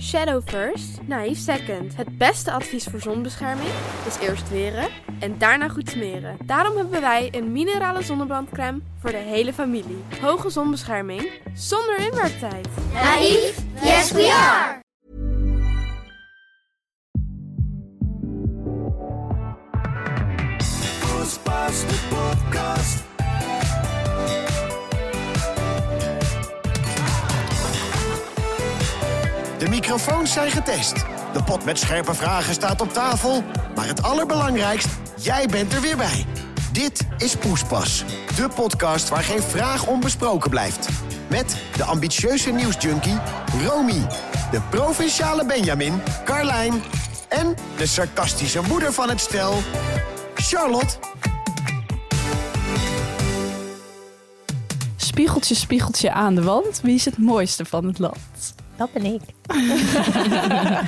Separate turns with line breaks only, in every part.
Shadow first, naïef second. Het beste advies voor zonbescherming is eerst weren en daarna goed smeren. Daarom hebben wij een minerale zonnebrandcrème voor de hele familie. Hoge zonbescherming zonder inwerktijd.
Naïef? Yes, we are!
Poespas, de podcast. De microfoons zijn getest. De pot met scherpe vragen staat op tafel. Maar het allerbelangrijkst, jij bent er weer bij. Dit is Poespas, de podcast waar geen vraag onbesproken blijft. Met de ambitieuze nieuwsjunkie Romy, de provinciale Benjamin, Carlijn... en de sarcastische moeder van het stel, Charlotte.
Spiegeltje, spiegeltje aan de wand. Wie is het mooiste van het land?
Dat ben ik.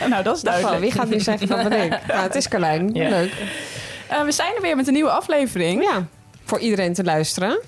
Nou, dat is
Oh,
duidelijk.
wie gaat nu zeggen van ben ik? Nou, het is Carlijn.
Ja.
Leuk.
Eh, we zijn er weer met een nieuwe aflevering.
Ja, voor iedereen te luisteren.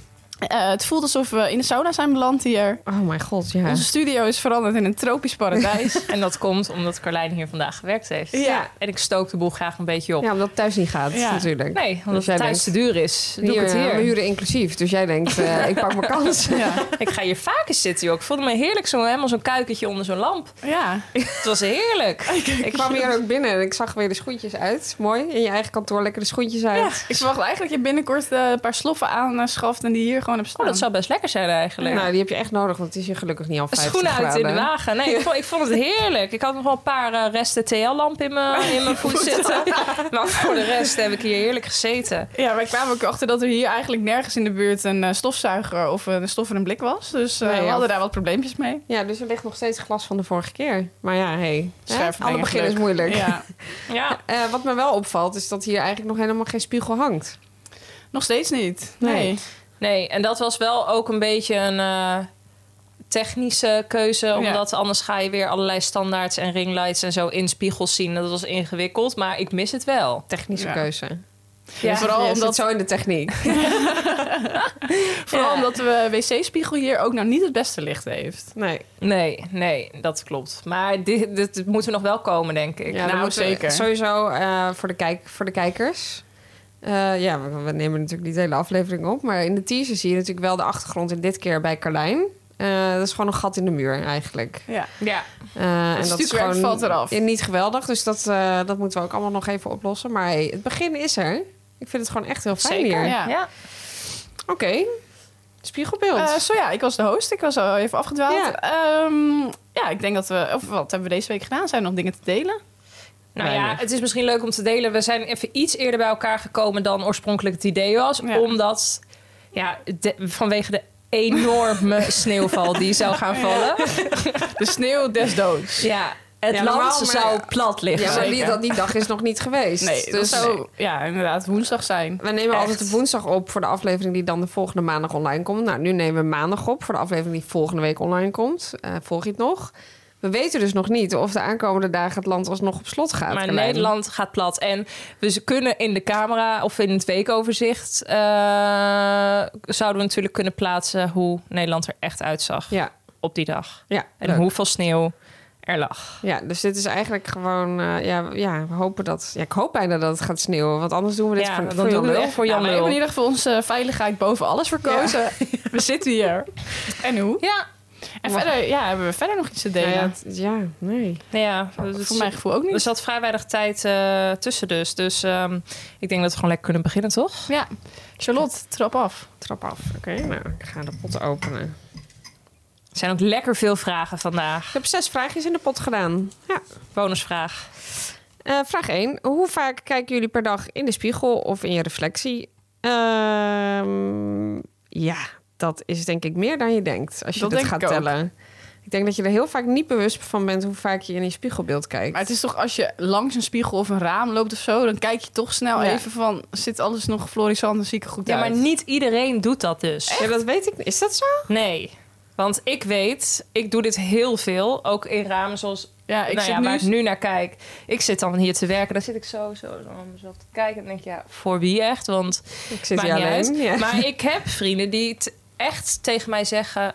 Eh, het voelt alsof we in de sauna zijn beland hier.
Oh mijn god, ja.
Onze studio is veranderd in een tropisch paradijs.
En dat komt omdat Carlijn hier vandaag gewerkt heeft.
Ja.
En ik stook de boel graag een beetje op.
Ja, omdat het thuis niet gaat
Ja.
natuurlijk.
Nee, omdat
Dus jij
het thuis te
denkt,
duur is. Doe ik het
eh, We
hier.
huren inclusief, dus jij denkt, eh, ik pak mijn kans.
ja.
Ik ga hier vaker zitten, joh. Ik voelde me heerlijk zo, helemaal zo'n kuikentje onder zo'n lamp.
ja.
Het was heerlijk.
Ik kwam hier ook binnen en ik zag weer de schoentjes uit. Mooi, in je eigen kantoor lekker de schoentjes uit.
Ik verwacht eigenlijk dat je binnenkort eh, een paar sloffen aanschaft en die hier gewoon hebt
Oh,
staan.
dat zou best lekker zijn eigenlijk.
Nou, die heb je echt nodig, want het is hier gelukkig niet al 50
Schoenen uit in de
graden.
wagen. Nee, ik vond, ik vond het heerlijk. Ik had nog wel een paar eh, resten TL-lamp in mijn in mijn voet zitten. Maar voor de rest heb ik hier heerlijk gezeten.
Ja, wij kwamen ook achter dat er hier eigenlijk nergens in de buurt een eh, stofzuiger of een stof in een blik was. Dus eh,
Nee,
we hadden
of-
daar wat probleempjes mee.
Ja, dus er ligt nog steeds glas van de vorige keer. Maar ja, hey. hè,
Schrijven
Alle
dingen
begin is
geluk.
moeilijk.
Ja.
Ja,
Eh, wat me wel opvalt, is dat hier eigenlijk nog helemaal geen spiegel hangt.
Nog steeds niet.
Nee.
nee.
nee. En dat was wel ook een beetje een eh, technische keuze. Omdat anders ga je weer allerlei standaards en ringlights en zo in spiegels zien. Dat was ingewikkeld, maar ik mis het wel.
Technische
Ja.
keuze. Dus
Ja, Dus vooral
Je zit
omdat
zo in de techniek.
Vooral
Ja.
omdat de wc-spiegel hier ook nou niet het beste licht heeft.
Nee,
Nee, nee, dat klopt. Maar dit, dit, dit moet er nog wel komen, denk ik.
ja, dan
nou,
moeten we-
zeker.
Sowieso eh, voor, de kijk, voor de kijkers. Eh, ja, we, we nemen natuurlijk niet de hele aflevering op. Maar in de teaser zie je natuurlijk wel de achtergrond in dit keer bij Carlijn. Eh, dat is gewoon een gat in de muur eigenlijk.
Ja.
Ja,
Eh, en dat is
stukwerk
gewoon
valt eraf.
ja, niet geweldig. Dus dat, eh, dat moeten we ook allemaal nog even oplossen. Maar hey, het begin is er. Ik vind het gewoon echt heel fijn
zeker.
hier.
ja.
Ja.
Oké. Spiegelbeeld.
Eh, zo ja, ik was de host. Ik was al even afgedwaald.
Ja.
Ja, ja ik denk dat we... Of wat hebben we deze week gedaan? Zijn er nog dingen te delen?
Nou ja,
Weinig.
het is misschien leuk om te delen. We zijn even iets eerder bij elkaar gekomen dan oorspronkelijk het idee was.
Ja.
Omdat, ja, de- vanwege de enorme sneeuwval die zou gaan vallen. Ja,
De sneeuw des doods.
het
Ja,
land
normaal, maar-
zou plat liggen.
Ja, maar die,
zeker.
dat, die dag is nog niet geweest.
Nee, dat
dus
zou ja, inderdaad woensdag zijn.
We nemen
Echt.
altijd op woensdag op voor de aflevering die dan de volgende maandag online komt. Nou, nu nemen we maandag op voor de aflevering die volgende week online komt. Eh, volg je het nog? We weten dus nog niet of de aankomende dagen het land alsnog op slot gaat.
Maar
Carlijn.
Nederland gaat plat. En we z- kunnen in de camera of in het weekoverzicht... eh, zouden we natuurlijk kunnen plaatsen hoe Nederland er echt uitzag
Ja,
op die dag.
ja,
En
leuk.
hoeveel sneeuw er lag.
ja, dus dit is eigenlijk gewoon... eh, ja, ja, we hopen dat... Ja, ik hoop bijna dat het gaat sneeuwen. Want anders doen we dit
Ja,
voor,
dan
voor
doen
Jan
we het
Lul.
echt voor
Ja,
Jan
Nou, we
Lul.
hebben in ieder geval onze veiligheid boven alles verkozen. We zitten hier. En hoe?
Ja,
En verder ja, hebben we verder nog iets te delen. Dus-
Nou ja, het- ja, nee.
nou ja, dat is-
Voor mijn gevoel ook
Er
niet.
zat vrij weinig tijd eh, tussen dus. Dus ehm, ik denk dat we gewoon lekker kunnen beginnen, toch?
Ja. Charlotte, trap af.
Trap af. Oké, nou, ik ga de pot openen.
Er zijn ook lekker veel vragen vandaag.
Ik heb zes vraagjes in de pot gedaan. Ja.
Bonusvraag.
Eh, vraag 1. Hoe vaak kijken jullie per dag in de spiegel of in je reflectie? Ehm, ja, dat is denk ik meer dan je denkt als je
Dat
dat
denk
gaat
ik ook.
tellen. Ik denk dat je er heel vaak niet bewust van bent hoe vaak je in je spiegelbeeld kijkt.
Maar het is toch als je langs een spiegel of een raam loopt of zo, dan kijk je toch snel
Ja.
even van zit alles nog florissant en zie ik er goed
Ja,
uit.
maar niet iedereen doet dat dus.
ja, dat weet ik niet. Is dat zo?
Nee. Want ik weet, ik doe dit heel veel. Ook in ramen zoals
Ja, ik
nou
zit
ja, waar ik
nu.
nu naar kijk. Ik zit dan hier te werken. Dan zit ik zo, zo dan om mezelf te kijken. En denk ik, ja, voor wie echt? Want
Ik zit
Maakt
hier
niet
alleen.
uit.
Ja.
Maar ik heb vrienden die het echt tegen mij zeggen...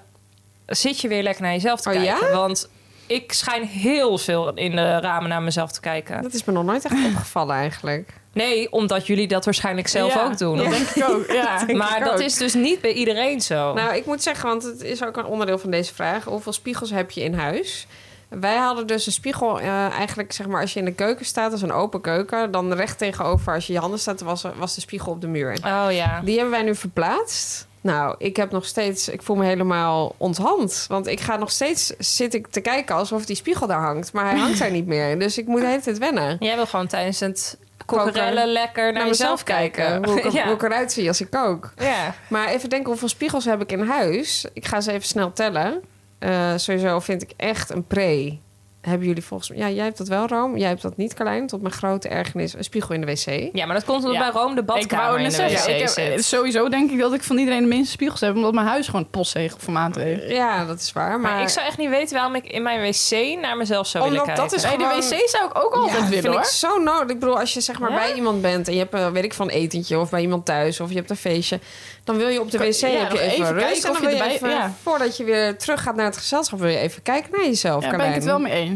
zit je weer lekker naar jezelf te
Oh, ja?
kijken. Want ik schijn heel veel in de ramen naar mezelf te kijken.
Dat is me nog nooit echt opgevallen eigenlijk.
Nee, omdat jullie dat waarschijnlijk zelf
Ja,
ook doen.
Dat denk ik ook, ja.
denk
Maar
ik
dat
ook.
is dus niet bij iedereen zo.
Nou, ik moet zeggen, want het is ook een onderdeel van deze vraag. Hoeveel spiegels heb je in huis? Wij hadden dus een spiegel eh, eigenlijk, zeg maar, als je in de keuken staat, als een open keuken, dan recht tegenover, als je je handen staat, was, was de spiegel op de muur.
oh ja.
Die hebben wij nu verplaatst. Nou, ik heb nog steeds, ik voel me helemaal onthand. Want ik ga nog steeds, zit ik te kijken alsof die spiegel daar hangt. Maar hij hangt daar niet meer. Dus ik moet de hele tijd wennen.
Jij wil gewoon tijdens het
Koken.
kokerellen lekker naar,
Naar
jezelf
mezelf
kijken.
kijken. Hoe ik, er-
ja.
hoe ik eruit zie als ik kook.
ja.
Maar even denken, hoeveel spiegels heb ik in huis? Ik ga ze even snel tellen. Eh, sowieso vind ik echt een pre. Hebben jullie volgens mij... Ja, jij hebt dat wel, Room. Jij hebt dat niet, Carlijn. Tot mijn grote ergernis. Een spiegel in de wc.
ja, maar dat komt omdat
Ja.
bij Rome de badkamer in
net
de wc
zeggen, ik heb,
zit.
sowieso denk ik dat ik van iedereen de minste spiegels heb, omdat mijn huis gewoon postzegelformaat heeft. Dus
Ja, dat is waar. Maar,
Maar ik zou echt niet weten waarom ik in mijn wc naar mezelf zou
Omdat
willen
dat
kijken.
is
Nee,
gewoon-
de wc zou ik ook altijd
Ja,
willen
vind
hoor.
ik zo nodig. Ik bedoel, als je zeg maar bij iemand bent en je hebt een, weet ik van etentje of bij iemand thuis of je hebt een feestje, dan wil je op de wc
ja,
heb
nog
je even,
even
rust.
kijken
en
of
dan
je
wil je even,
erbij- ja.
voordat je weer terug gaat naar het gezelschap, wil je even kijken naar jezelf.
Ja, ben
Carlijn.
ik het wel mee eens.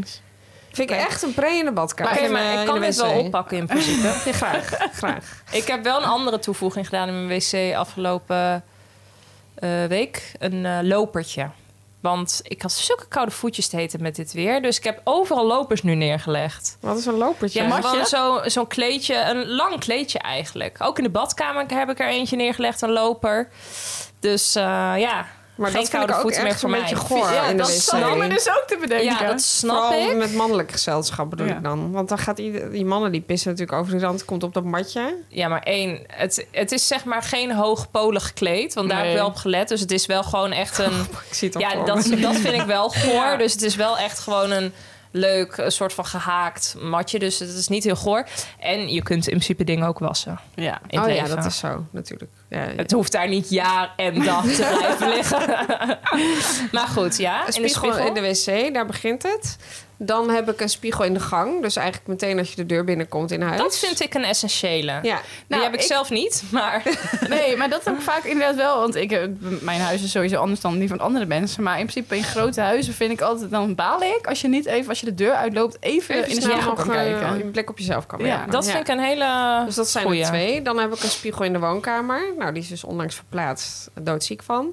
Vind ik echt een pre in de badkamer.
Oké,
In,
maar
eh,
ik
in
kan
de
dit
wc.
wel oppakken in principe.
Ja, graag, graag.
Ik heb wel een andere toevoeging gedaan in mijn wc afgelopen eh, week. Een eh, lopertje. Want ik had zulke koude voetjes te heten met dit weer. Dus ik heb overal lopers nu neergelegd.
Wat is een lopertje?
Ja,
matje?
gewoon zo- zo'n kleedje. Een lang kleedje eigenlijk. Ook in de badkamer heb ik er eentje neergelegd, een loper. Dus eh, ja,
maar
geen
dat vind
koude
ik ook
voeten meer
echt
voor
een
mij.
beetje goor
ja,
in de
dat
wc.
snap ik dus ook te bedenken.
ja, dat snap
Vooral
ik.
met mannelijk gezelschap bedoel
Ja.
ik dan. Want dan gaat ieder, die mannen die pissen natuurlijk over de rand, komt op dat matje.
Ja, maar één, het, het is zeg maar geen hoogpolig kleed. Want daar heb ik
Nee.
wel op gelet. Dus het is wel gewoon echt een...
Ik zie het al
Ja,
voor
dat,
me.
dat vind ik wel goor.
Ja.
Dus het is wel echt gewoon een leuk een soort van gehaakt matje. Dus het is niet heel goor. En je kunt in principe dingen ook wassen.
Ja.
In het
oh
leven.
ja, dat is zo, natuurlijk. Ja, ja.
Het hoeft daar niet jaar en dag te blijven liggen. maar goed, ja.
Een
In de
spiegel in
spiegel.
de wc, daar begint het. Dan heb ik een spiegel in de gang. Dus eigenlijk meteen als je de deur binnenkomt in huis.
Dat vind ik een essentiële.
Ja,
Die
Nou,
heb ik,
ik-
zelf niet, maar...
Nee, maar dat heb ik vaak inderdaad wel. Want ik, heb- mijn huis is sowieso anders dan die van andere mensen. Maar in principe in grote huizen vind ik altijd... dan baal ik als je niet even, als je de deur uitloopt... even,
even
in de
snel
spiegel
nog
kan
eh,
kijken.
een blik op jezelf kan
Ja,
werpen.
Dat
Ja.
vind ik een hele
Dus dat zijn
goeie.
er twee. Dan heb ik een spiegel in de woonkamer. Nou, die is dus onlangs verplaatst. Doodziek van.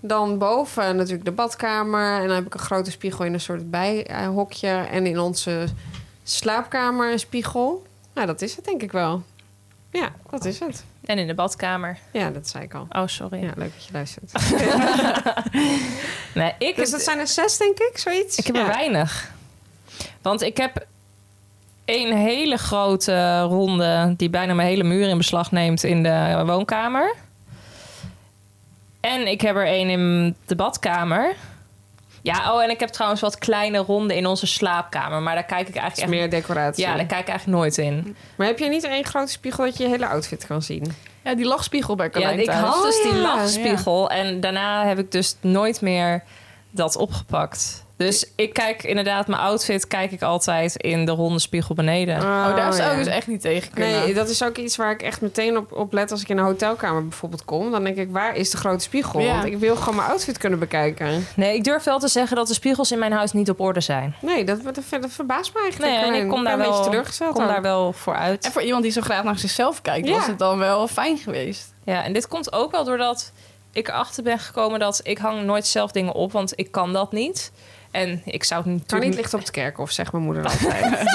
Dan boven natuurlijk de badkamer. En dan heb ik een grote spiegel in een soort bijhokje. En in onze slaapkamer een spiegel. Nou, dat is het denk ik wel. Ja, dat is het.
En in de badkamer.
Ja, dat zei ik al.
Oh, sorry.
Ja, leuk dat je luistert.
Nee, ik
Dus
heb-
dat zijn er zes, denk ik, zoiets?
Ik heb
ja.
er weinig. Want ik heb een hele grote ronde die bijna mijn hele muur in beslag neemt in de woonkamer. En ik heb er één in de badkamer. Ja, oh, en ik heb trouwens wat kleine ronden in onze slaapkamer. Maar daar kijk ik
Het is
eigenlijk echt...
meer decoratie.
Ja, daar kijk ik eigenlijk nooit in.
Maar heb je niet één grote spiegel dat je je hele outfit kan zien?
Ja, die lachspiegel bij
Ja,
Carlijn
ik
thuis.
had dus
Oh,
die
ja.
lachspiegel. En daarna heb ik dus nooit meer dat opgepakt. Dus ik kijk inderdaad, mijn outfit kijk ik altijd in de ronde spiegel beneden.
Ah.
Oh, daar zou ik
ja.
dus echt niet tegen kunnen.
Nee, dat is ook iets waar ik echt meteen op, op let als ik in een hotelkamer bijvoorbeeld kom. Dan denk ik, waar is de grote spiegel?
Ja.
Want ik wil gewoon mijn outfit kunnen bekijken.
Nee, ik durf wel te zeggen dat de spiegels in mijn huis niet op orde zijn.
Nee, dat, dat, dat verbaast me eigenlijk.
Nee, en
Alleen,
ik
ben
kom daar
een beetje
wel,
teleurgesteld.
kom
ook.
daar wel voor
En
uit.
voor iemand die zo graag naar zichzelf kijkt...
Ja.
was het dan wel fijn geweest.
Ja, en dit komt ook wel doordat ik erachter ben gekomen dat ik hang nooit zelf dingen op, want ik kan dat niet. En ik zou het
Kan
natuurlijk
niet licht op het kerkhof, zegt mijn moeder altijd.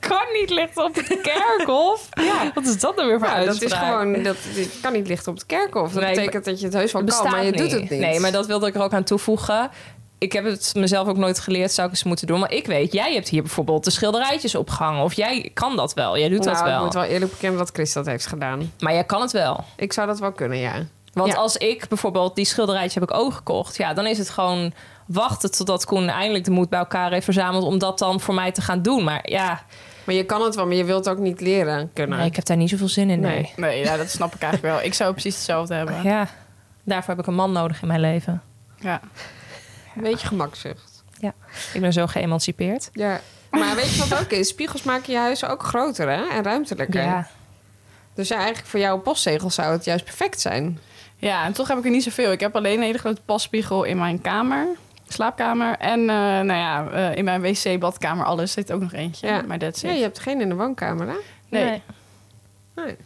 kan niet licht op het kerkhof. ja. Wat is dat nou weer voor
ja, dat
uitspraak?
is gewoon, dat, dit kan niet licht op het kerkhof. Dat
Nee,
betekent dat je het heus wel
Het
kan, maar je
niet.
doet het niet.
Nee, maar dat wilde ik er ook aan toevoegen. Ik heb het mezelf ook nooit geleerd, zou ik eens moeten doen. Maar ik weet, jij hebt hier bijvoorbeeld de schilderijtjes opgehangen. Of jij kan dat wel, jij doet
nou,
dat
Ik
wel.
moet wel eerlijk bekennen dat Chris dat heeft gedaan.
Maar jij kan het wel.
Ik zou dat wel kunnen, ja.
Want
Ja.
als ik bijvoorbeeld die schilderijtje heb ik ook gekocht, ja, dan is het gewoon wachten totdat Koen eindelijk de moed bij elkaar heeft verzameld om dat dan voor mij te gaan doen. Maar ja,
Maar je kan het wel, maar je wilt ook niet leren kunnen.
nee, ik heb daar niet zoveel zin in. Nee.
Nee.
Nee, ja, dat snap ik eigenlijk wel. Ik zou precies hetzelfde hebben.
Ja, daarvoor heb ik een man nodig in mijn leven.
Ja.
Een beetje gemakzucht.
Ja, ik ben zo geëmancipeerd.
Ja. Maar weet je wat ook is? Spiegels maken je huizen ook groter hè? en ruimtelijker.
Ja.
Dus ja, eigenlijk voor jouw postzegel zou het juist perfect zijn.
ja, en toch heb ik er niet zoveel. Ik heb alleen een hele grote passpiegel in mijn kamer. slaapkamer. En eh, nou ja, eh, in mijn wc, badkamer, alles zit ook nog eentje.
Ja.
Maar that's it.
Ja, je hebt geen in de woonkamer, hè?
Nee.
Nee.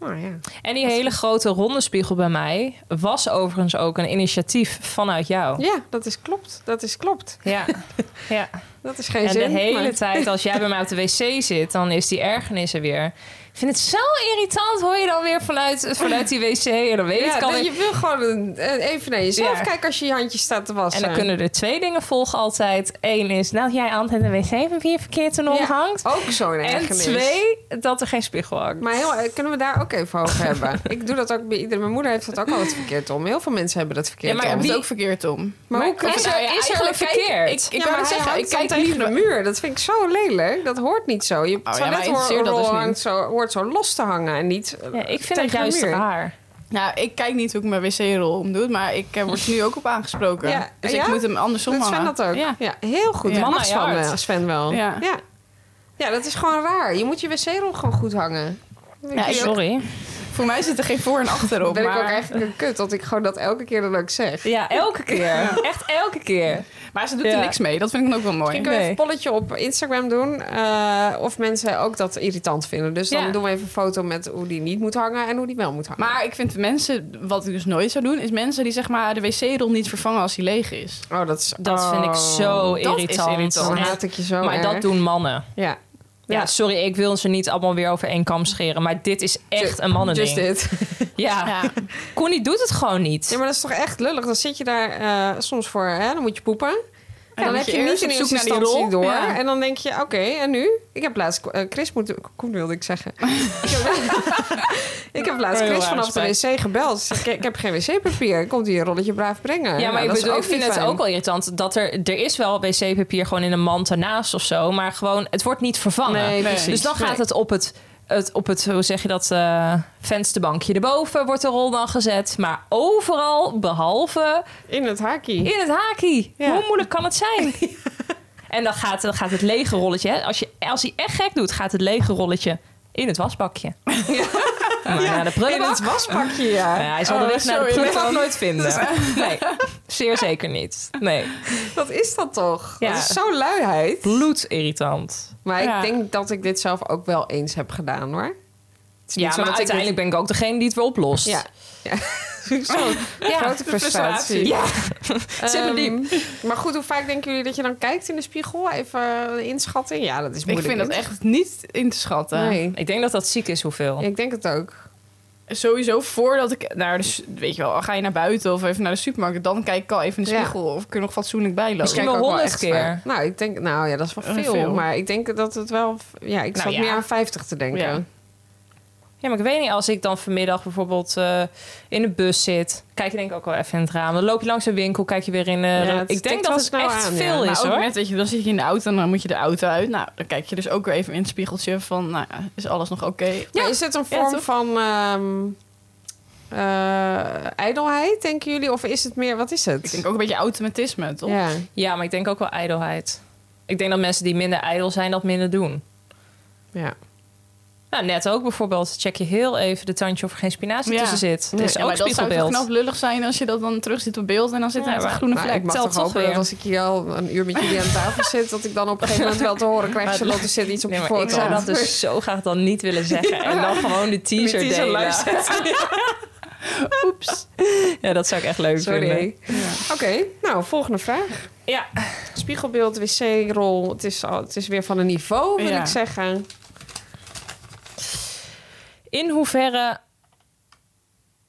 Nou ja.
En die hele grote ronde spiegel bij mij was overigens ook een initiatief vanuit jou.
Ja, dat is klopt. Dat is klopt.
Ja. ja.
Dat is geen
En
zin.
de hele
maar-
tijd als jij bij mij op de wc zit, dan is die ergernis er weer. Ik vind het zo irritant, hoor je dan weer vanuit, vanuit die wc. En dan weet
Ja,
ik al
dat je wil gewoon een- een- even naar jezelf
Ja.
kijken als je je handjes staat te
En
wassen.
dan kunnen er twee dingen volgen altijd. Eén is, nou jij altijd de wc van vier verkeerd en
Ja,
hangt.
Ook zo'n
En
ergernis.
twee, dat er geen spiegel hangt.
Maar heel, eh, kunnen we daar ook even over hebben? Ik doe dat ook bij iedereen. Mijn moeder heeft dat ook altijd verkeerd om. Heel veel mensen hebben dat verkeerd
Ja,
Maar
om.
heb
Wie-
het ook verkeerd om.
Maar hoe
Maar
kan
is
ze-
er- ja,
is er
eigenlijk
kijk,
verkeerd.
Ik, ik
Ik
wou
wou net
zeggen, ik kijk tegen de muur. Dat vind ik zo lelijk. Dat hoort niet zo. Je
maar
toiletrol
interesseert dat dus niet.
hangt zo, hoort zo los te hangen en niet eh,
Ja, ik vind
tegen
het juist
de muur.
raar.
Nou, ik kijk niet hoe ik mijn wc-rol omdoe, maar ik eh, word er nu ook op aangesproken.
Ja.
Dus
Ja?
ik moet hem andersom
Doet Sven
hangen.
dat ook? Ja,
Ja.
heel goed.
Ja.
Dat
Mama
mag Sven,
Jaard.
wel- Sven wel.
Ja.
Ja. Ja, dat is gewoon raar. Je moet je wc-rol gewoon goed hangen.
Ja, ik-
Sorry.
Voor mij zit er geen voor en achter op.
ben
maar...
ik ook eigenlijk een kut dat ik gewoon dat elke keer dan ook zeg.
Ja, elke keer. Echt elke keer.
Maar ze doet
Ja.
er niks mee. Dat vind ik dan ook wel mooi.
Ik
Vind
kan
Nee.
even een polletje op Instagram doen. eh, of mensen ook dat irritant vinden. Dus dan
Ja.
doen we even een foto met hoe die niet moet hangen en hoe die wel moet hangen.
Maar ik vind mensen, wat ik dus nooit zou doen, is mensen die zeg maar de wc-rol niet vervangen als die leeg is.
oh, dat is,
Dat
oh,
vind ik zo
is
irritant.
irritant.
Dan
Echt.
haat ik je zo.
maar
erg.
dat doen mannen.
Ja.
Ja,
Ja.
sorry, ik wil ze niet allemaal weer over één kam scheren. Maar dit is echt een
Just
mannending.
dit.
Ja.
Ja.
Connie doet het gewoon niet.
Ja, maar dat is toch echt lullig. Dan zit je daar eh, soms voor, hè? dan moet je poepen. En
dan
dan,
moet
heb je,
je
niet
eerst
in
op
eerste
zoek naar die
instantie
rol.
door.
Ja.
En dan denk je, oké, en nu? Ik heb laatst eh, Chris moeten... Koen wilde ik zeggen. ik, heb, ik heb laatst
Heel
Chris
erg
vanaf de wc gebeld. Ze zegt, Ik, ik heb geen wc-papier. Komt hier een rolletje braaf brengen?
Ja, maar
Nou,
ik,
dat is
bedoel, ik
ook
vind
niet
het
fijn.
ook wel irritant dat er, er is wel wc-papier gewoon in een mand ernaast of zo, maar gewoon het wordt niet vervangen.
Nee, precies.
Dus dan gaat
Nee.
het op het, het, op het, hoe zeg je dat, eh, vensterbankje erboven wordt de rol dan gezet, maar overal behalve
In het haakje.
in het haakie.
Ja.
Hoe moeilijk kan het zijn? En dan gaat, dan gaat het lege rolletje, hè, als, je, als hij echt gek doet, gaat het lege rolletje in het wasbakje. Maar naar de
In
prullenbak.
het waspakje, ja.
Ja, hij zal de
Oh,
weg naar de
sorry,
prullenbak
dat-
nooit vinden. Nee, zeer zeker niet. Nee.
Wat is dat toch?
Ja.
Dat is zo'n luiheid.
bloedirritant.
Maar ik
Ja.
denk dat ik dit zelf ook wel eens heb gedaan, hoor. Het is niet
Ja,
zo
maar
dat ik dit-
uiteindelijk ben ik ook degene die het weer oplost.
Ja. ja. Zo, grote frustratie.
frustratie.
Ja.
Zit me
Ehm,
diep. Maar goed, hoe vaak denken jullie dat je dan kijkt in de spiegel? Even een inschatting. Ja, dat is
Ik
moeilijk.
vind dat echt niet in te schatten.
Nee,
Ik denk dat dat ziek is hoeveel.
ik denk het ook.
Sowieso voordat ik naar de, s- weet je wel, al ga je naar buiten of even naar de supermarkt, dan kijk ik al even in de
Ja.
spiegel of ik er nog fatsoenlijk bij loop.
Misschien
Ik kijk
wel
ook
honderd
echt
keer.
vaak. Nou, ik denk, nou ja, dat is wel
Eh,
veel,
veel.
Maar ik denk dat het wel... Ja, ik zat
Nou ja.
meer aan 50 te denken.
Ja.
Ja, maar ik weet niet, als ik dan vanmiddag bijvoorbeeld eh, in de bus zit, kijk je denk ik ook wel even in het raam. Dan loop je langs een winkel, kijk je weer in. eh,
Ja,
de-
het
ik denk
tikt
dat
wel
het
snel
echt
aan, ja.
veel
Maar
is
ook
hoor.
met, weet je, dan zit je in de auto en dan moet je de auto uit. Nou, dan kijk je dus ook weer even in het spiegeltje van, nou ja, is alles nog oké?
Maar is het een
Ja,
vorm
toch?
van ehm eh, ijdelheid, denken jullie? Of is het meer, wat is het?
Ik denk ook een beetje automatisme, toch?
Ja.
Ja, maar ik denk ook wel ijdelheid. Ik denk dat mensen die minder ijdel zijn, dat minder doen.
ja.
Nou, net ook bijvoorbeeld, check je heel even de tandje of er geen spinazie
Ja.
tussen zit. Dat is
Ja,
ook
maar dat zou toch
spiegelbeeld.
knap lullig zijn als je dat dan terug ziet op beeld en dan zit
Ja,
er echt een
maar-
groene
Nou,
vlek.
ik mag
telt
toch
toch
hopen dat
weer.
als ik hier al een uur met jullie aan tafel zit... dat ik dan op een gegeven moment wel te horen krijg...
Maar-
Charlotte, er zit iets op
Nee,
je
maar ik
voorkant.
zou dat dus zo graag dan niet willen zeggen. En dan gewoon de teaser
Die teaser
delen.
luisteren.
Oeps. Ja, dat zou ik echt leuk vinden.
Sorry. Oké, nou, volgende vraag.
Ja.
Spiegelbeeld, wc-rol. Het is, al- het is weer van een niveau, wil
Ja.
ik zeggen.
In hoeverre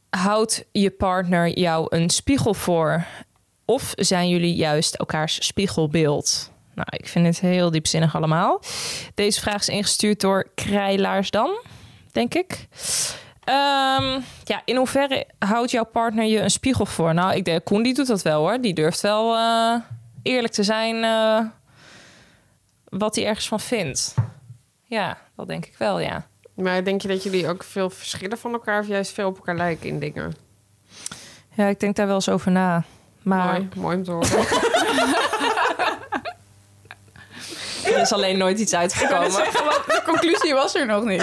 houdt je partner jou een spiegel voor? Of zijn jullie juist elkaars spiegelbeeld? Nou, ik vind het heel diepzinnig allemaal. Deze vraag is ingestuurd door Krijlaarsdam, denk ik. Ehm, ja, in hoeverre houdt jouw partner je een spiegel voor? Nou, ik denk, Koen die doet dat wel hoor. Die durft wel eh, eerlijk te zijn eh, wat hij ergens van vindt. Ja, dat denk ik wel, ja.
Maar denk je dat jullie ook veel verschillen van elkaar... of juist veel op elkaar lijken in dingen?
Ja, ik denk daar wel eens over na. Maar
Mooi, mooi om te horen.
er is alleen nooit iets uitgekomen.
De conclusie was er nog niet.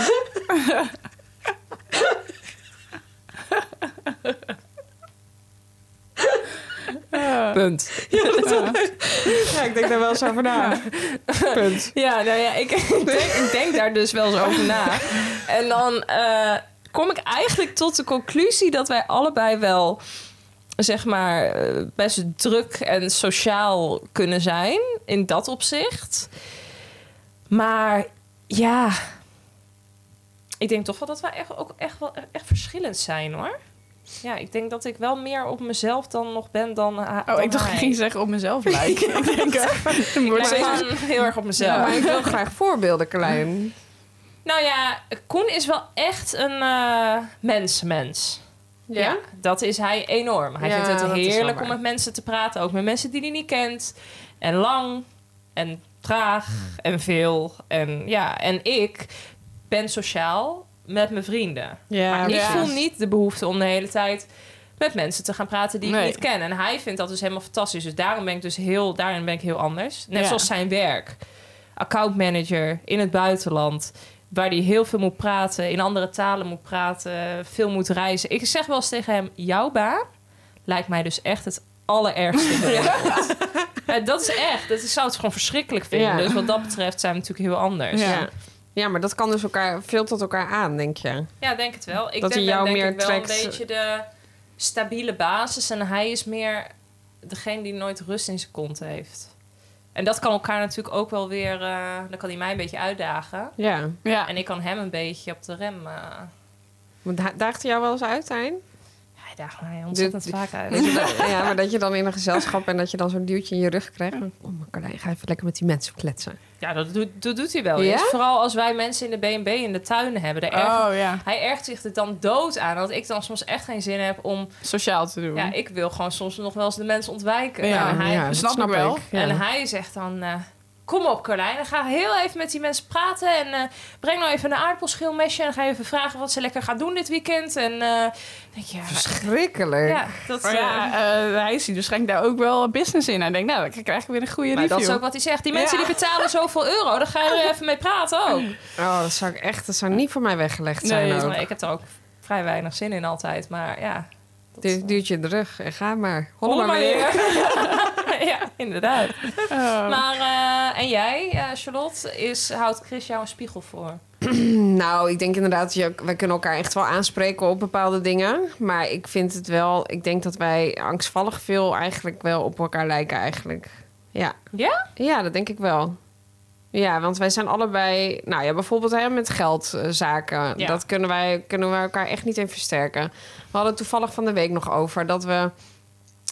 We Punt.
Ja, ik denk daar wel eens over na. Punt.
Ja, nou ja, ik, ik denk, ik denk daar dus wel eens over na. En dan eh, kom ik eigenlijk tot de conclusie dat wij allebei wel, zeg maar, eh, best druk en sociaal kunnen zijn in dat opzicht. Maar ja, ik denk toch wel dat wij echt, ook echt wel echt verschillend zijn hoor. Ja, ik denk dat ik wel meer op mezelf dan nog ben dan. ha-
Oh,
dan
ik dacht, ik
hij.
ging zeggen op mezelf lijken. ik denk, eh, dan wordt
Ik
steeds-
ben gewoon heel erg op mezelf.
Ja, maar ik wil graag voorbeelden, Klein.
Nou ja, Koen is wel echt een eh mensenmens.
Ja?
dat is hij enorm. Hij
Ja,
vindt het
dat is wel
heerlijk om
waar.
met mensen te praten. Ook met mensen die hij niet kent. En lang en traag en veel. En ja, en ik ben sociaal met mijn vrienden.
Ja,
maar ik
precies.
voel niet de behoefte om de hele tijd met mensen te gaan praten die ik
Nee.
niet ken. En hij vindt dat dus helemaal fantastisch. Dus daarom ben ik dus heel, daarin ben ik heel anders. Net
Ja.
zoals zijn werk. Accountmanager in het buitenland. Waar hij heel veel moet praten, in andere talen moet praten, veel moet reizen. Ik zeg wel eens tegen hem: jouw baan lijkt mij dus echt het allerergste. in de wereld. Ja, dat is echt. Dat, ik zou het gewoon verschrikkelijk vinden.
Ja.
Dus wat dat betreft zijn we natuurlijk heel anders.
Ja.
Ja. ja, maar dat kan dus elkaar, veel tot elkaar aan, denk je.
Ja, denk het wel. Ik
Dat
denk,
hij jou
ben denk
meer
ik wel
trekt.
een beetje de stabiele basis. En hij is meer degene die nooit rust in zijn kont heeft. En dat kan elkaar natuurlijk ook wel weer... eh, dan kan hij mij een beetje uitdagen.
Ja.
Ja.
En ik kan hem een beetje op de rem... eh,
Want da- daagt hij jou wel eens uit, Hein?
hij daagt mij ontzettend
Dit-
vaak uit.
Dat je dan- ja, maar dat je dan in een gezelschap en dat je dan zo'n duwtje in je rug krijgt. Oh, mijn Klein, ga even lekker met die mensen kletsen.
Ja, dat, doet- dat doet hij wel
Ja?
eens. Vooral als wij mensen in de B&B in de tuinen hebben. Daar ergert-
Oh ja,
Hij ergt zich er dan dood aan. Dat ik dan soms echt geen zin heb om...
sociaal te doen.
Ja, ik wil gewoon soms nog wel eens de mensen ontwijken.
Ja,
en hij
dat
snap ik wel.
Ja.
En hij zegt dan: eh, Kom op, Carlijn, dan ga heel even met die mensen praten. En eh, breng nou even een aardappelschilmesje. En ga even vragen wat ze lekker gaat doen dit weekend. En eh, dan denk je, ja,
Verschrikkelijk.
ja, dat,
Maar ja,
ja.
eh, hij ziet waarschijnlijk daar ook wel business in. Hij denkt, nou, dan krijg ik weer een goede
Maar dat
review.
is ook wat hij zegt. Die mensen
Ja.
die betalen zoveel euro, dan ga je er even mee praten ook.
Oh, dat zou ik echt, dat zou niet voor mij weggelegd zijn
Nee,
ook.
Maar ik heb er ook vrij weinig zin in altijd. Maar ja,
Du duwtje in de rug en ga maar. Holla
holle
maar weer.
ja, inderdaad.
Oh.
Maar, eh, en jij, eh, Charlotte, is, houdt Chris jou een spiegel voor?
Nou, ik denk inderdaad, je, wij kunnen elkaar echt wel aanspreken op bepaalde dingen. Maar ik vind het wel, ik denk dat wij angstvallig veel eigenlijk wel op elkaar lijken eigenlijk. Ja.
Ja?
Ja, dat denk ik wel. Ja, want wij zijn allebei, nou ja, bijvoorbeeld hè, met geldzaken.
Ja.
Dat kunnen wij, kunnen we elkaar echt niet in versterken. We hadden het toevallig van de week nog over dat we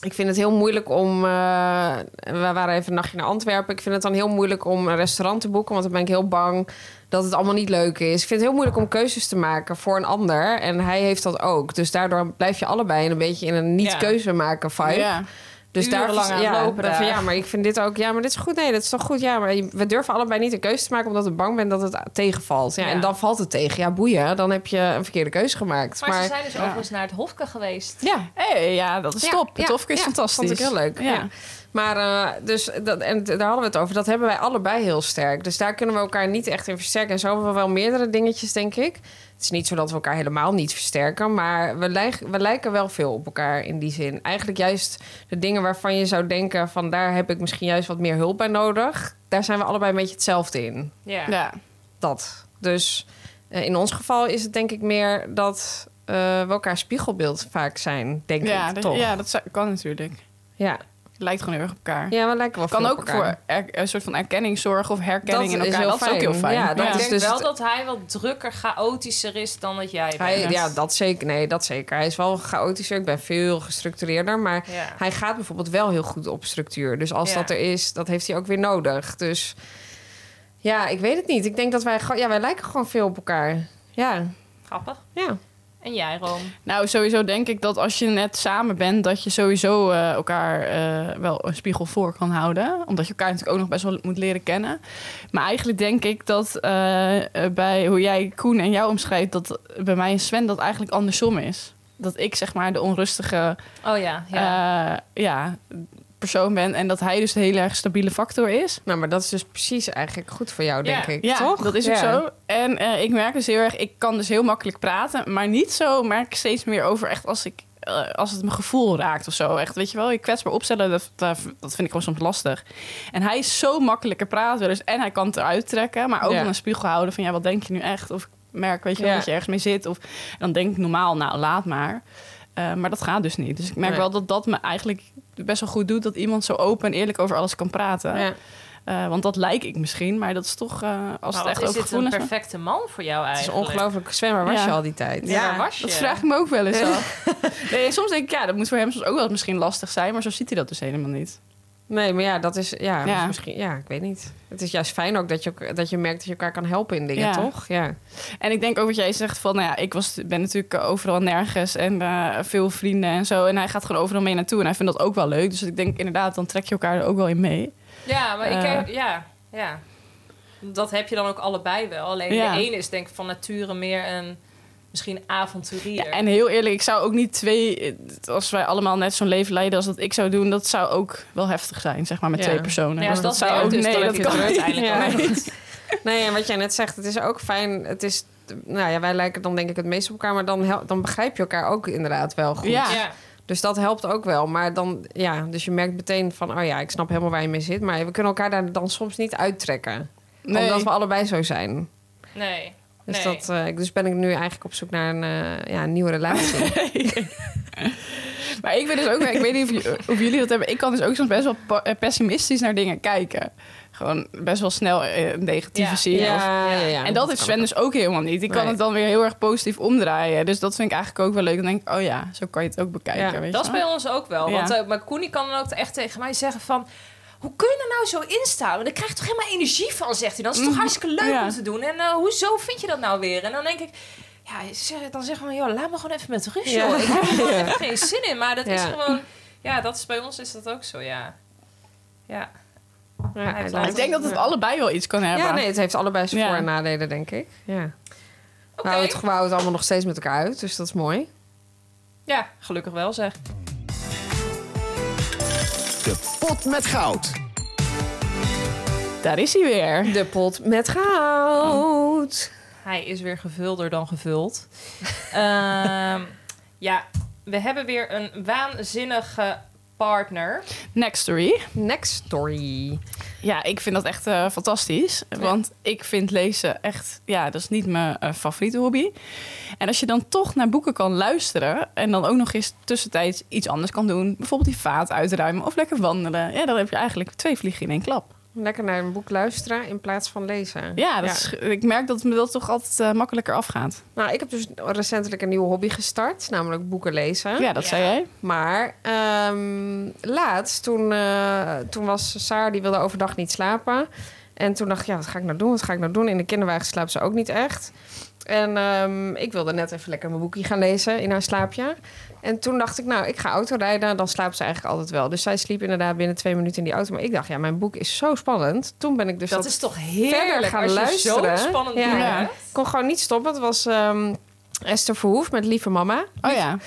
ik vind het heel moeilijk om. eh, we waren even een nachtje naar Antwerpen. Ik vind het dan heel moeilijk om een restaurant te boeken. Want dan ben ik heel bang dat het allemaal niet leuk is. Ik vind het heel moeilijk om keuzes te maken voor een ander. En hij heeft dat ook. Dus daardoor blijf je allebei een beetje in een
Ja.
niet-keuze maken vibe.
Ja.
Dus daar
Urenlang aan
ja,
lopen
dan van,
daar.
ja, maar ik vind dit ook. Ja, maar dit is goed. Nee, dat is toch goed. Ja, maar je- we durven allebei niet een keuze te maken omdat ik bang ben dat het tegenvalt. Ja,
Ja.
En dan valt het tegen. Ja, boeien. Dan heb je een verkeerde keuze gemaakt.
Maar, ze zijn dus
ja.
overigens naar het Hofke geweest.
ja,
Hey, ja, dat is
Ja,
top.
ja,
Het Hofke is
ja,
fantastisch.
Vond ik heel leuk. Ja.
Ja.
Maar eh, dus dat, en daar hadden we het over. Dat hebben wij allebei heel sterk. Dus daar kunnen we elkaar niet echt in versterken. En zo hebben we wel meerdere dingetjes, denk ik. Het is niet zo dat we elkaar helemaal niet versterken. Maar we, lijk- we lijken wel veel op elkaar in die zin. Eigenlijk juist de dingen waarvan je zou denken: van daar heb ik misschien juist wat meer hulp bij nodig. Daar zijn we allebei een beetje hetzelfde in
Ja.
Ja.
dat. Dus eh, in ons geval is het denk ik meer dat eh, we elkaar spiegelbeeld vaak zijn, denk
Ja,
ik,
dat,
toch?
ja, dat zou- kan natuurlijk.
Ja.
Lijkt gewoon heel erg op elkaar.
ja, we lijken wel
kan
veel op
ook
elkaar.
voor er- een soort van erkenning zorgen of herkenning
Dat is
in elkaar.
heel
dat is ook
fijn.
heel fijn.
Ja, dat
Ik
is
denk
dus
wel
het-
dat hij wat drukker, chaotischer is dan dat jij bent.
Hij, ja, dat zeker. Nee, dat zeker. Hij is wel chaotischer. Ik ben veel gestructureerder. Maar
Ja.
hij gaat bijvoorbeeld wel heel goed op structuur. Dus als
Ja.
dat er is, dat heeft hij ook weer nodig. Dus ja, ik weet het niet. Ik denk dat wij... gewoon- Ja, wij lijken gewoon veel op elkaar. Ja,
Grappig.
ja.
En jij, Room.
Nou, sowieso denk ik dat als je net samen bent, dat je sowieso eh, elkaar eh, wel een spiegel voor kan houden. Omdat je elkaar natuurlijk ook nog best wel moet leren kennen. Maar eigenlijk denk ik dat eh, eh, bij hoe jij Koen en jou omschrijft, dat bij mij en Sven dat eigenlijk andersom is. Dat ik zeg maar de onrustige
Oh ja, ja.
ja. ja, persoon ben en dat hij dus de heel erg stabiele factor is.
Nou, maar dat is dus precies eigenlijk goed voor jou,
Ja.
denk ik.
Ja,
toch?
dat is ook
Ja.
zo. En eh, ik merk dus heel erg, ik kan dus heel makkelijk praten, maar niet zo merk ik steeds meer over echt als ik eh, als het mijn gevoel raakt of zo. Echt, weet je wel, je kwetsbaar opstellen, dat, dat dat vind ik gewoon soms lastig. En hij is zo makkelijker praten, dus en hij kan het eruit trekken, maar ook
Ja.
aan een spiegel houden van ja, wat denk je nu echt? Of ik merk, weet je wel,
Ja.
dat je ergens mee zit. Of dan denk ik normaal, nou laat maar. Eh, maar dat gaat dus niet. Dus ik merk
Nee.
wel dat dat me eigenlijk best wel goed doet dat iemand zo open en eerlijk over alles kan praten.
Ja.
Eh, want dat lijk ik misschien, maar dat is toch eh, als het
Maar wat
echt
is
over
dit een
gevoelens
perfecte man voor jou
Het is
eigenlijk?
ongelooflijk. Sven, waar was
Ja.
je al die tijd?
Ja, waar was je?
Dat vraag ik me ook wel eens af. Nee, soms denk ik, ja, dat moet voor hem soms ook wel misschien lastig zijn, maar zo ziet hij dat dus helemaal niet.
Nee, maar ja, dat is... Ja, dat
Ja.
is misschien... Ja, ik weet niet. Het is juist fijn ook dat je, ook- dat je merkt dat je elkaar kan helpen in dingen,
Ja.
toch? Ja.
En ik denk ook wat jij zegt van, nou ja, ik was, ben natuurlijk eh, overal nergens en eh, veel vrienden en zo. En hij gaat gewoon overal mee naartoe en hij vindt dat ook wel leuk. Dus ik denk inderdaad, dan trek je elkaar er ook wel in mee.
Ja, maar ik,
Eh.
heb- ja, ja. Dat heb je dan ook allebei wel. Alleen
Ja.
de ene is denk ik van nature meer een misschien avonturier.
Ja, en heel eerlijk, ik zou ook niet twee, als wij allemaal net zo'n leven leiden als dat ik zou doen, dat zou ook wel heftig zijn, zeg maar, met
Ja.
twee personen.
Ja,
Dus
als dat werkt, dus dan heb je het er
niet.
uiteindelijk
Nee.
over.
Nee, en wat jij net zegt, het is ook fijn. Het is, nou ja, wij lijken dan denk ik het meest op elkaar, maar dan, hel- dan begrijp je elkaar ook inderdaad wel goed.
Ja.
ja.
Dus dat helpt ook wel. Maar dan, ja, dus je merkt meteen van, oh ja, ik snap helemaal waar je mee zit. Maar we kunnen elkaar daar dan soms niet uittrekken.
Nee.
Omdat we allebei zo zijn.
nee.
Dus,
Nee.
dat, eh, ik- dus ben ik nu eigenlijk op zoek naar een, eh, ja, een nieuwe relatie.
Maar ik ben dus ook, ik weet niet of, j- of jullie dat hebben. Ik kan dus ook soms best wel pa- eh, pessimistisch naar dingen kijken. Gewoon best wel snel eh, een negatieve
Ja.
zien. of- en dat
is
heeft Sven dus ook helemaal niet. Die kan
Nee.
het dan weer heel erg positief omdraaien. Dus dat vind ik eigenlijk ook wel leuk. Dan denk ik, oh ja, zo kan je het ook bekijken.
Ja,
weet
Dat is
je wel.
bij ons ook wel.
Ja.
Want eh, maar Koenie kan dan ook echt tegen mij zeggen van... Hoe kun je er nou zo in staan? Want Daar krijg je toch helemaal energie van, zegt hij. Dat is toch
Mhm.
hartstikke leuk
Ja.
om te doen. En eh, hoezo vind je dat nou weer? En dan denk ik... Ja, zeg- dan zeggen we, joh, laat me gewoon even met rust,
Ja.
joh. Ik heb er gewoon even geen zin in. Maar dat is
Ja.
gewoon... Ja, dat is, bij ons is dat ook zo, ja. Ja,
Ja, hij
Ik
laat-
Ik denk dat het
Ja.
allebei wel iets kan hebben.
Ja, nee, het heeft allebei zijn
Ja.
voor- en nadelen, denk ik. Ja.
oké.
We houden Nou, het, we houden het allemaal nog steeds met elkaar uit, dus dat is mooi.
Ja, gelukkig wel, zeg.
De pot met goud.
Daar is hij weer.
De pot met goud.
Hij is weer gevulder dan gevuld. Ehm, ja, we hebben weer een waanzinnige partner.
Next story.
Next story.
Ja, ik vind dat echt eh, fantastisch. Want ik vind lezen echt, ja, dat is niet mijn eh, favoriete hobby. En als je dan toch naar boeken kan luisteren en dan ook nog eens tussentijds iets anders kan doen, bijvoorbeeld die vaat uitruimen of lekker wandelen, ja, dan heb je eigenlijk twee vliegen in één klap.
Lekker naar een boek luisteren in plaats van lezen.
Ja, dat Is, ik merk dat me dat toch altijd eh, makkelijker afgaat.
Nou, ik heb dus recentelijk een nieuwe hobby gestart, namelijk boeken lezen.
Ja, dat
Ja.
zei jij.
Maar ehm, laatst, toen, eh, toen was Saar, die wilde overdag niet slapen. En toen dacht ik, ja, wat ga ik nou doen? Wat ga ik nou doen? In de kinderwagen slaapt ze ook niet echt. En ehm, ik wilde net even lekker mijn boekje gaan lezen in haar slaapje. En toen dacht ik, nou, ik ga autorijden. Dan slaapt ze eigenlijk altijd wel. Dus zij sliep inderdaad binnen twee minuten in die auto. Maar ik dacht, ja, mijn boek is zo spannend. Toen ben ik dus
Dat
dat
is toch
verder
heerlijk
gaan
als je
luisteren.
zo'n spannend
Ja.
boek
Ja.
hebt.
Ik kon gewoon niet stoppen. Het was ehm, Esther Verhoef met Lieve Mama.
Oh ja.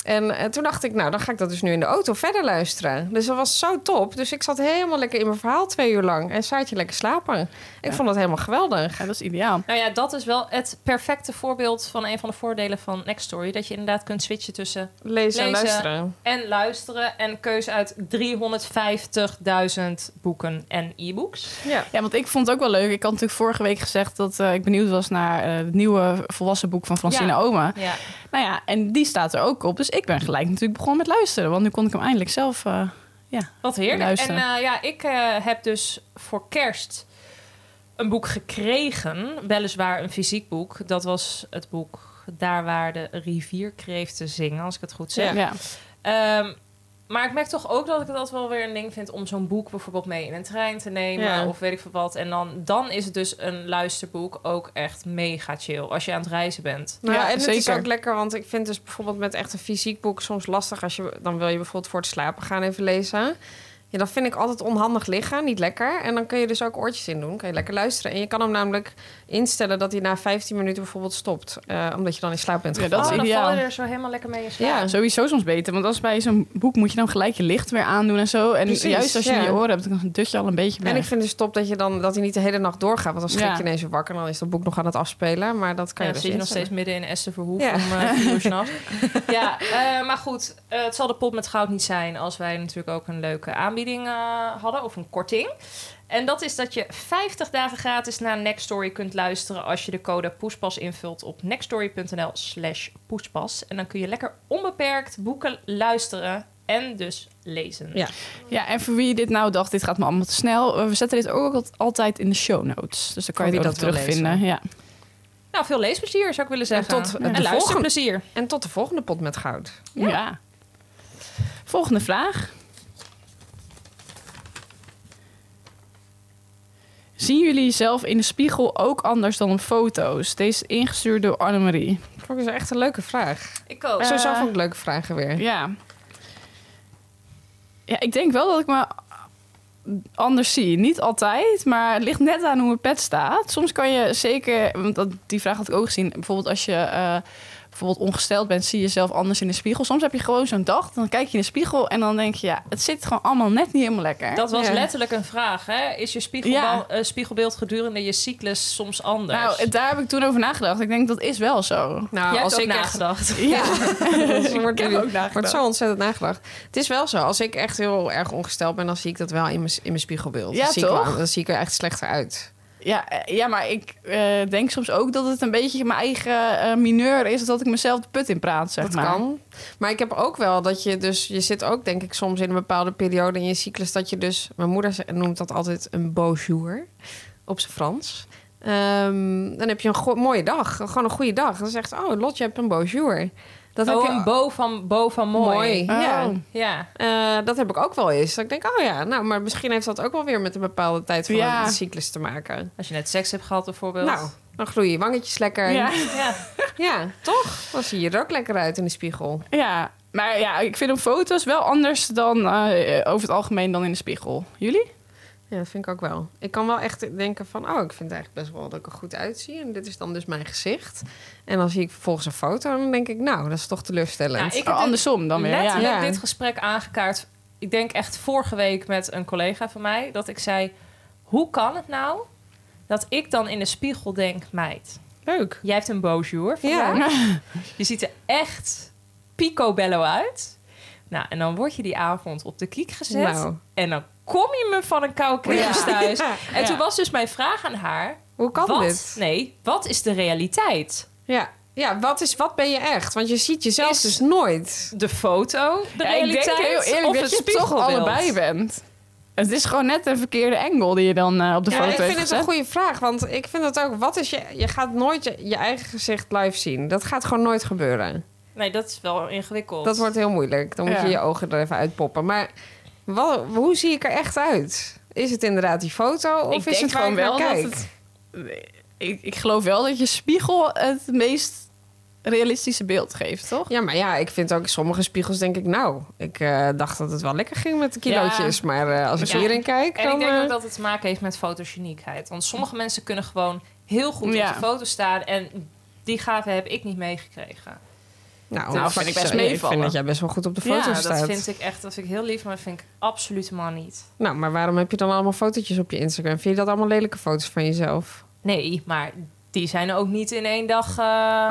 En eh, toen dacht ik, nou, dan ga ik dat dus nu in de auto verder luisteren. Dus dat was zo top. Dus ik zat helemaal lekker in mijn verhaal twee uur lang. En Saartje lekker slapen. Ik vond dat helemaal geweldig.
ja, dat is ideaal.
Nou ja, dat is wel het perfecte voorbeeld van een van de voordelen van Next Story. Dat je inderdaad kunt switchen tussen
Lezen, en
Lezen.
luisteren.
en luisteren en keuze uit 350.000 boeken en e-books.
Ja.
Ja, want ik vond het ook wel leuk. Ik had natuurlijk vorige week gezegd dat eh, ik benieuwd was naar eh, het nieuwe volwassen boek van Francine
Ja.
Oma.
Ja.
Nou ja, en die staat er ook op. Dus ik ben gelijk natuurlijk begonnen met luisteren. Want nu kon ik hem eindelijk zelf... eh, ja.
Wat heerlijk.
Luisteren.
En eh, ja, ik eh, heb dus voor kerst een boek gekregen. Weliswaar een fysiek boek. Dat was het boek Daar waar de rivierkreeften zingen, als ik het goed zeg.
Ja.
Ja.
Ehm, maar ik merk toch ook dat ik dat wel weer een ding vind om zo'n boek bijvoorbeeld mee in een trein te nemen
Ja.
of weet ik veel wat. En dan, dan is het dus een luisterboek ook echt mega chill als je aan het reizen bent.
Nou,
Ja,
en het is
zeker.
ook lekker, want ik vind dus bijvoorbeeld met echt een fysiek boek soms lastig. Als je, dan wil je bijvoorbeeld voor het slapen gaan even lezen. Ja, dat vind ik altijd onhandig liggen, niet lekker. En dan kun je dus ook oortjes in doen. Kun je lekker luisteren. En je kan hem namelijk instellen dat hij na 15 minuten bijvoorbeeld stopt. eh, omdat je dan in slaap bent
Ja,
gevallen.
dat is
oh, dan
ideaal.
vallen er zo helemaal lekker mee in slaap.
Ja.
Sowieso soms beter, want als bij zo'n boek moet je dan gelijk je licht weer aandoen en zo. En
Precies,
juist als je
ja.
in je oren hebt, dan dut je al een beetje weg.
En ik vind dus top dat, je dan, dat hij niet de hele nacht doorgaat. Want dan schrik
Ja.
je ineens weer wakker. En dan is dat boek nog aan het afspelen. Maar dat kan je
Ja, dan
dus
zit je nog
instellen.
steeds midden in Esther Verhoef
Ja.
om eh, vier uur s'nachts. ja, eh, maar goed, eh, het zal de pot met goud niet zijn als wij natuurlijk ook een leuke aanbieding eh, hadden of een korting. En dat is dat je 50 dagen gratis naar Next Story kunt luisteren als je de code Poespas invult op nextstory.nl slash poespas. En dan kun je lekker onbeperkt boeken luisteren en dus lezen.
Ja.
Ja, en voor wie dit nou dacht, dit gaat me allemaal te snel. eh, We zetten dit ook al- altijd in de show notes. Dus dan kan
Voor
je het
wie
ook
dat wil
terugvinden. Ja.
Nou, veel leesplezier zou ik willen zeggen.
tot, eh, de
en
volgende-
luisterplezier.
En tot de volgende pot met goud.
Ja. Volgende vraag. Zien jullie zelf in de spiegel ook anders dan op foto's? Deze is ingestuurd door Annemarie.
Vond ik dus echt een leuke vraag.
Ik ook.
Zo zelf ook leuke vragen weer. Nou,
Ja. Ja, ik denk wel dat ik me anders zie. Niet altijd, maar het ligt net aan hoe mijn pet staat. Soms kan je zeker, want dat, die vraag had ik ook gezien. Bijvoorbeeld als je eh, bijvoorbeeld ongesteld bent, zie je jezelf anders in de spiegel. Soms heb je gewoon zo'n dag, dan kijk je in de spiegel en dan denk je, ja, het zit gewoon allemaal net niet helemaal lekker.
Dat was
Ja.
letterlijk een vraag, hè? Is je spiegelbal- eh, spiegelbeeld gedurende je cyclus soms anders?
nou, daar heb ik toen over nagedacht. Ik denk, dat is wel zo.
Nou,
Jij
als
hebt
ik
ook
echt
nagedacht.
Ja,
Er wordt,
Ik heb
nu-
ook nagedacht.
wordt zo ontzettend nagedacht. Het is wel zo. Als ik echt heel erg ongesteld ben, dan zie ik dat wel in mijn, in mijn spiegelbeeld.
Ja,
dan, zie Ik
toch?
wel- dan zie ik er echt slechter uit.
Ja, eh, ja maar ik eh, denk soms ook dat het een beetje mijn eigen eh, mineur is... dat ik mezelf de put in praat, zeg
Dat
maar. Oh.
kan. Maar ik heb ook wel dat je dus... Je zit ook denk ik soms in een bepaalde periode in je cyclus... dat je dus... Mijn moeder ze- noemt dat altijd een bonjour. Op zijn Frans. Ehm, dan heb je een go- mooie dag. Gewoon een goede dag. Dan zegt ze, oh Lot, je hebt een bonjour. Dat
Oh,
heb je
een bo van, bo van mooi.
Oh.
Ja.
Ja.
Eh, dat heb ik ook wel eens. Dat ik denk, oh ja, nou, maar misschien heeft dat ook wel weer met een bepaalde tijd van
Ja.
de cyclus te maken.
Als je net seks hebt gehad bijvoorbeeld.
Nou, dan groeien je wangetjes lekker.
Ja.
Ja.
Ja.
toch? Dan zie je er ook lekker uit in de spiegel.
Ja, maar ja, ik vind op foto's wel anders dan eh, over het algemeen dan in de spiegel. Jullie?
Ja, dat vind ik ook wel. Ik kan wel echt denken van, oh, ik vind eigenlijk best wel dat ik er goed uitzie. En dit is dan dus mijn gezicht. En dan zie ik vervolgens een foto en dan denk ik, nou, dat is toch teleurstellend.
Ja, ik-
Oh,
dit-
andersom dan weer. Ja.
Letterlijk
Ja.
dit gesprek aangekaart. Ik denk echt vorige week met een collega van mij. Dat ik zei, hoe kan het nou dat ik dan in de spiegel denk... meid,
Leuk.
jij hebt een bonjour vandaag.
Ja.
Je ziet er echt picobello uit. Nou, en dan word je die avond op de kiek gezet.
Nou.
En dan kom je me van een koude kermis
Ja.
thuis.
Ja.
En
Ja.
toen was dus mijn vraag aan haar...
Hoe kan
wat,
dit?
Nee, wat is de realiteit?
Ja, ja wat, is, wat ben je echt? Want je ziet jezelf
Is-
dus nooit.
De foto, de
Ja, ik
realiteit?
denk heel
of
eerlijk dat
het
je het toch
spiegelbeeld?
allebei bent. Het is gewoon net een verkeerde angle die je dan eh, op de
Ja,
foto
ik
heeft
vind het
gezet.
een goede vraag. Want ik vind het ook, wat is je... Je gaat nooit je, je eigen gezicht live zien. Dat gaat gewoon nooit gebeuren.
Nee, dat is wel ingewikkeld.
Dat wordt heel moeilijk. Dan moet
Ja.
je je ogen er even uitpoppen. Maar wa- hoe zie ik er echt uit? Is het inderdaad die foto? Of is
denk
het waar
gewoon
ik naar
wel dat
kijk?
het- ik, ik geloof wel dat je spiegel het meest realistische beeld geeft, toch?
Ja, maar ja, ik vind ook sommige spiegels denk ik... Nou, ik eh, dacht dat het wel lekker ging met de kilootjes.
Ja.
Maar eh, als ik
Ja.
hierin kijk,
En
dan...
ik denk
eh,
ook dat het te maken heeft met fotogeniekheid. Want sommige mensen kunnen gewoon heel goed
Ja.
op de foto staan. En die gave heb ik niet meegekregen.
nou,
Nou,
dat
vind ik
is-
best
Ik vind
meevallen.
dat jij best wel goed op de foto
ja,
staat.
dat vind ik echt, dat vind ik heel lief, maar dat vind ik absoluut helemaal niet.
Nou, maar waarom heb je dan allemaal fotootjes op je Instagram? Vind je dat allemaal lelijke foto's van jezelf?
Nee, maar die zijn ook niet in één dag eh,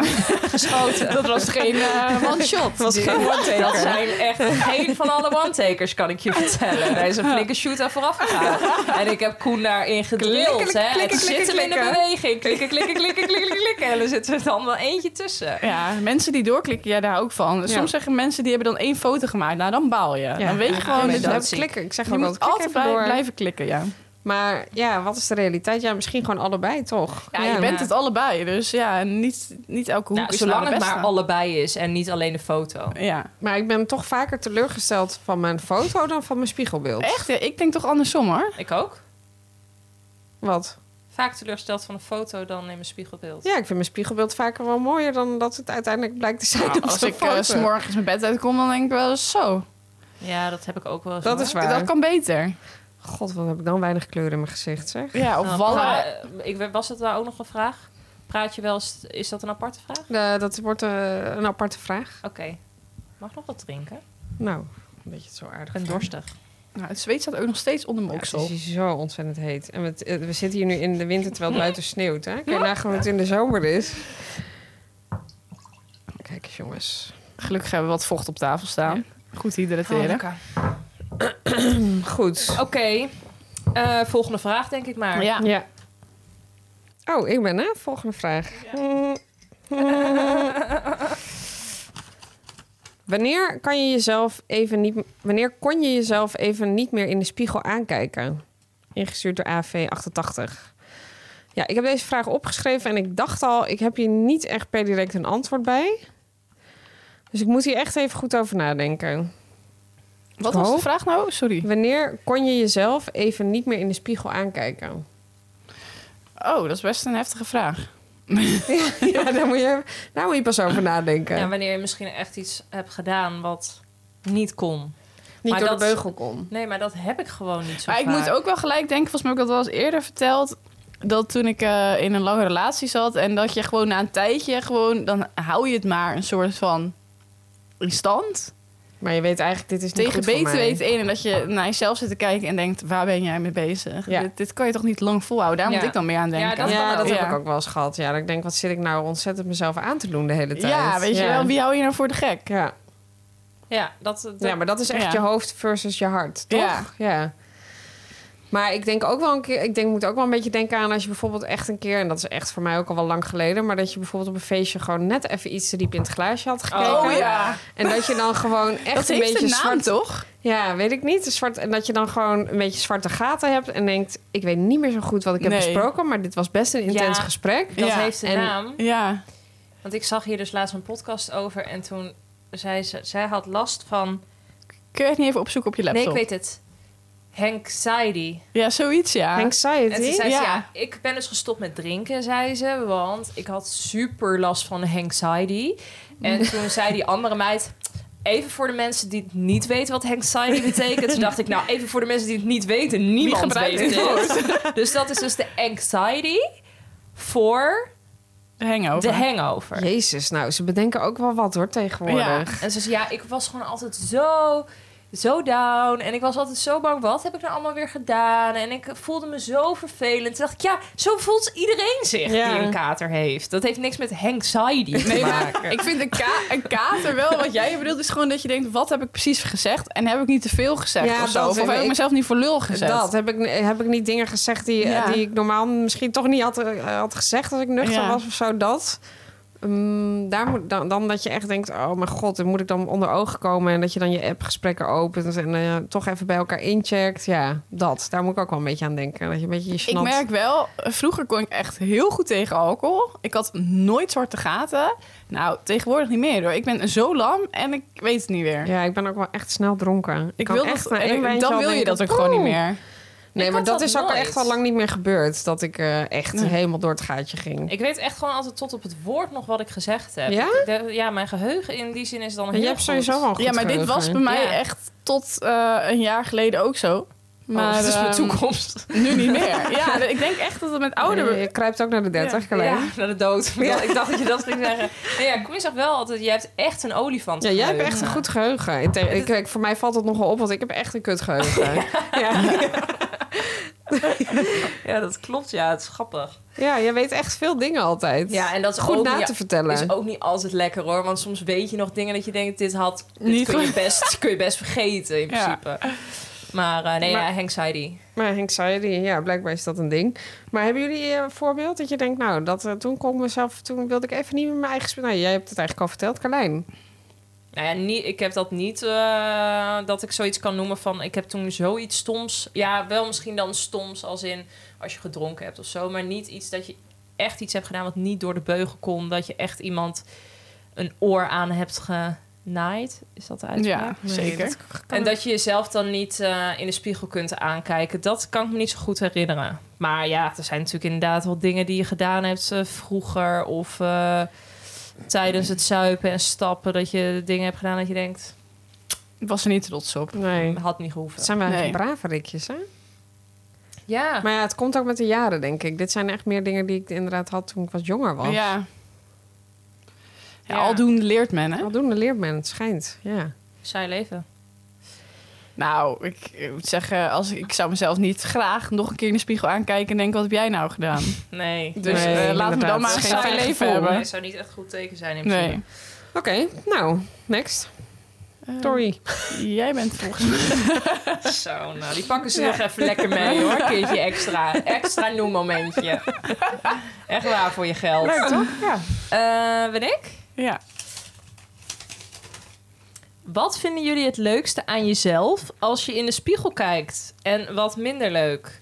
geschoten.
Dat was geen eh, one shot.
was geen one-taker.
Dat zijn echt geen van alle one-takers, kan ik je vertellen. Daar is een flinke shoot aan vooraf gegaan. En ik heb Koen daarin gedrild.
Klikken,
Hè.
klikken,
het zit
klikken,
hem in de
klikken.
beweging. Klikken, klikken, klikken, klikken, klikken. En er zit er dan wel eentje tussen.
Ja, mensen die doorklikken, ja, daar hou ik van. Soms
Ja.
zeggen mensen die hebben dan één foto gemaakt. Nou, dan baal je. dan weet je gewoon,
ik
dat
blijf
je
klikken. Ik zeg
moet
gewoon altijd, klik
altijd
even
bij
door.
blijven klikken, ja.
Maar ja, wat is de realiteit? Ja, misschien gewoon allebei, toch?
Ja, je bent het allebei, dus ja, niet, niet elke hoek
Nou,
is
zolang
nou de
het maar
beste.
allebei is en niet alleen de foto.
Ja.
Maar ik ben toch vaker teleurgesteld van mijn foto dan van mijn spiegelbeeld.
Echt, ja, ik denk toch andersom, hoor.
Ik ook.
Wat?
Vaak teleurgesteld van een foto dan in mijn spiegelbeeld.
Ja, ik vind mijn spiegelbeeld vaker wel mooier dan dat het uiteindelijk blijkt te zijn.
Nou,
op
als
zo'n
ik
foto.
eh, s morgens mijn bed uitkom, dan denk ik wel eens zo.
Ja, dat heb ik ook wel eens.
Dat
hoor.
is waar.
Dat kan beter.
God, wat heb ik dan weinig kleur in mijn gezicht, zeg.
Ja, of
Nou,
wallen.
pra- ik, weet- was dat daar ook nog een vraag? Praat je wel eens... Is dat een aparte vraag?
Eh, dat wordt eh, een aparte vraag.
Oké. Mag nog wat drinken?
Nou, dat je het zo aardig
Ik ben dorstig.
Nou, het zweet staat ook nog steeds onder mijn
Ja,
oksel.
het is hier zo ontzettend heet. En met, eh, we zitten hier nu in de winter terwijl het buiten sneeuwt. Hè? Kun je nagaan hoe het in de zomer is? Kijk eens, jongens.
Gelukkig hebben we wat vocht op tafel staan. Goed hydrateren.
Oké.
Goed.
Eh, volgende vraag, denk ik maar.
ja.
Ja. Oh, ik ben na. Volgende vraag. Mm. wanneer kan je jezelf even niet... Wanneer kon je jezelf even niet meer in de spiegel aankijken? Ingestuurd door AV88. Ja, ik heb deze vraag opgeschreven en ik dacht al... ik heb hier niet echt per direct een antwoord bij. Dus ik moet hier echt even goed over nadenken.
Wat was de
Oh.
vraag nou? Sorry.
Wanneer kon je jezelf even niet meer in de spiegel aankijken?
Oh, dat is best een heftige vraag.
Ja, daar moet je, daar moet je pas over nadenken.
Ja, Nou, wanneer je misschien echt iets hebt gedaan wat niet kon.
Niet
maar
door de
dat-
beugel kom.
Nee, maar dat heb ik gewoon niet zo
Maar ik
vaak.
moet ook wel gelijk denken, volgens mij heb ik dat wel eens eerder verteld... dat toen ik eh, in een lange relatie zat... en dat je gewoon na een tijdje gewoon... dan hou je het maar een soort van in stand.
Maar je weet eigenlijk, dit is niet
Tegen
goed voor
beter
mij.
weten in... en dat je naar jezelf zit te kijken en denkt... waar ben jij mee bezig?
Ja.
Dit, dit kan je toch niet lang volhouden? Daar moet
Ja.
ik dan meer aan denken.
Ja, dat
ja,
kan
dat
ook.
heb
Ja.
ik ook wel eens gehad. Ja, dat ik denk, wat zit ik nou ontzettend mezelf aan te doen de hele tijd.
Ja, weet je wel, wie hou je nou voor de gek?
Ja.
Ja, dat, dat-
ja, maar dat is echt
Ja.
je hoofd versus je hart, toch?
Ja.
ja. Maar ik denk ook wel een keer, ik denk, moet ook wel een beetje denken aan als je bijvoorbeeld echt een keer, en dat is echt voor mij ook al wel lang geleden, maar dat je bijvoorbeeld op een feestje gewoon net even iets te diep in het glaasje had gekeken.
Oh ja.
En dat je dan gewoon echt
Dat
een
heeft
beetje
een naam,
zwart
toch?
Ja, weet ik niet. Een Zwart, en dat je dan gewoon een beetje zwarte gaten hebt en denkt: ik weet niet meer zo goed wat ik heb
Nee.
besproken, maar dit was best een intens
Ja.
gesprek.
dat
Ja.
heeft een
En-
naam.
Ja.
Want ik zag hier dus laatst een podcast over en toen zei ze... Zij had last van...
Kun je het niet even opzoeken op je laptop?
Nee, ik weet het. Anxiety.
Ja, zoiets, ja.
En toen
Anxiety.
zei ze,
Ja.
ja. ik ben dus gestopt met drinken, zei ze. Want ik had super last van anxiety. En toen zei die andere meid... Even voor de mensen die het niet weten wat anxiety betekent. Toen dacht ik, nou, even voor de mensen die het niet weten. Niemand
gebruikt
weet
dit
het. Dus dat is dus de anxiety voor
De hangover.
de hangover.
Jezus, nou, ze bedenken ook wel wat hoor tegenwoordig.
En ze zei, ja, ik was gewoon altijd zo, zo down. En ik was altijd zo bang, wat heb ik nou allemaal weer gedaan? En ik voelde me zo vervelend. Toen dacht ik, ja, zo voelt iedereen zich
Ja.
die een kater heeft. Dat heeft niks met anxiety te
Nee,
maken.
maar ik vind een, ka een kater wel. Wat jij bedoelt is gewoon dat je denkt... wat heb ik precies gezegd? En heb ik niet te veel gezegd
Ja,
of zo?
dat
Of
heb
heb ik
ik-
mezelf niet voor lul gezet?
Dat heb ik, heb ik niet dingen gezegd die,
Ja.
die ik normaal misschien toch niet had, eh, had gezegd als ik nuchter
Ja.
was of zo. Dat. Mm, daar moet, dan, dan dat je echt denkt: oh mijn god, dan moet ik dan onder ogen komen. En dat je dan je appgesprekken opent en eh, toch even bij elkaar incheckt. Ja, dat. Daar moet ik ook wel een beetje aan denken. Dat je een beetje je
Ik
gênant-
merk wel, vroeger kon ik echt heel goed tegen alcohol. Ik had nooit zwarte gaten. Nou, tegenwoordig niet meer hoor. Ik ben zo lam en ik weet het niet meer.
Ja, ik ben ook wel echt snel dronken. Ik, kan
wil
echt
dat,
na één
en
wijntje
dan
al
wil je
denken,
dat ook gewoon niet
"Oeh."
meer.
Nee,
Ik
maar
had
dat
dat
is ook
nooit.
echt al lang niet meer gebeurd. Dat ik eh, echt helemaal door het gaatje ging.
Ik weet echt gewoon altijd tot op het woord nog wat ik gezegd heb.
Ja?
Ik denk, ja, mijn geheugen in die zin is dan
En
heel
je hebt
goed. Oh,
sowieso wel een goed
Ja, maar dit
geheugen.
was bij mij
Ja.
echt tot eh, een jaar geleden ook zo.
Oh,
Maar
dat is mijn
ehm,
toekomst.
nu niet meer. Ja, ik denk echt dat het met ouder...
Nee, Je kruipt ook naar de 30
Ja,
alleen.
naar de dood. Ik dacht dat je dat ging zeggen. Nee, ja, Quinn zag wel altijd, je hebt echt een olifant.
Ja, jij hebt echt een goed geheugen. Ik, denk- ik, ik- voor mij valt het nogal op, want ik heb echt een kut geheugen. Ja, ja.
Ja, dat klopt. Ja, het is grappig.
je weet echt veel dingen altijd.
Ja, en dat is
goed
ook
na
niet-
te vertellen.
Is ook niet altijd lekker hoor. Want soms weet je nog dingen dat je denkt, dit had. Dit
Niet
kun, je
goed.
best, kun je best vergeten in
Ja.
principe. Maar eh, nee,
Maar-
ja, anxiety.
Maar anxiety, ja, blijkbaar is dat een ding. Maar hebben jullie eh, een voorbeeld dat je denkt, nou, dat, eh, toen kon ik mezelf, toen wilde ik even niet meer mijn eigen sp- Nou, jij hebt het eigenlijk al verteld, Carlijn.
Nou ja, niet, ik heb dat niet eh, dat ik zoiets kan noemen van ik heb toen zoiets stoms. Ja, wel misschien dan stoms als in als je gedronken hebt of zo. Maar niet iets dat je echt iets hebt gedaan wat niet door de beugel kon. Dat je echt iemand een oor aan hebt genaaid. Is dat de uitspraak?
Ja, zeker.
En dat je jezelf dan niet eh, in de spiegel kunt aankijken, dat kan ik me niet zo goed herinneren. Maar ja, er zijn natuurlijk inderdaad wel dingen die je gedaan hebt eh, vroeger of eh, tijdens het zuipen en stappen, dat je dingen hebt gedaan dat je denkt, "Hmm,
was er niet trots op.
Nee.
Had niet
Het
gehoeven.
zijn wel
Nee.
echt brave rikjes, hè?
Ja.
Maar ja, het komt ook met de jaren, denk ik. Dit zijn echt meer dingen die ik inderdaad had toen ik wat jonger was.
Ja. ja.
Ja.
Aldoende leert men, hè?
Aldoende leert men, het schijnt. Ja.
Saai leven.
Nou, ik, eh, moet zeggen, als, ik- ik zou mezelf niet graag nog een keer in de spiegel aankijken en denken, wat heb jij nou gedaan?
Nee.
Dus
Nee,
eh, laten we
inderdaad.
dan maar
Het
een
is
Saai
saai
gevoel.
leven hebben.
Nee, zou niet echt een goed teken zijn in principe.
Nee.
Oké, nou, next.
Ehm,
Tori.
Jij bent volgens mij...
Zo, nou, die pakken ze nog even lekker mee hoor. Een keertje extra. Extra noemmomentje. Echt waar voor je geld.
Leuk, toch? Ja.
Eh, ben ik?
Ja.
Wat vinden jullie het leukste aan jezelf als je in de spiegel kijkt? En wat minder leuk?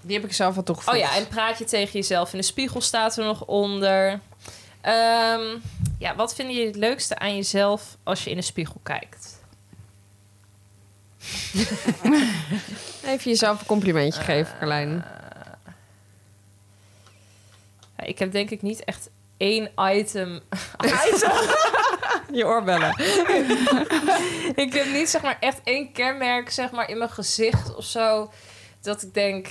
Die heb ik zelf al
Oh
toegevoegd.
ja, en praat je tegen jezelf in de spiegel staat er nog onder. Ehm, ja, wat vinden jullie het leukste aan jezelf als je in de spiegel kijkt?
Even jezelf een
Eh.
complimentje geven, Carlijn.
Ja, ik heb denk ik niet echt één item
Je oorbellen.
ik heb niet zeg maar echt één kenmerk zeg maar in mijn gezicht of zo dat ik denk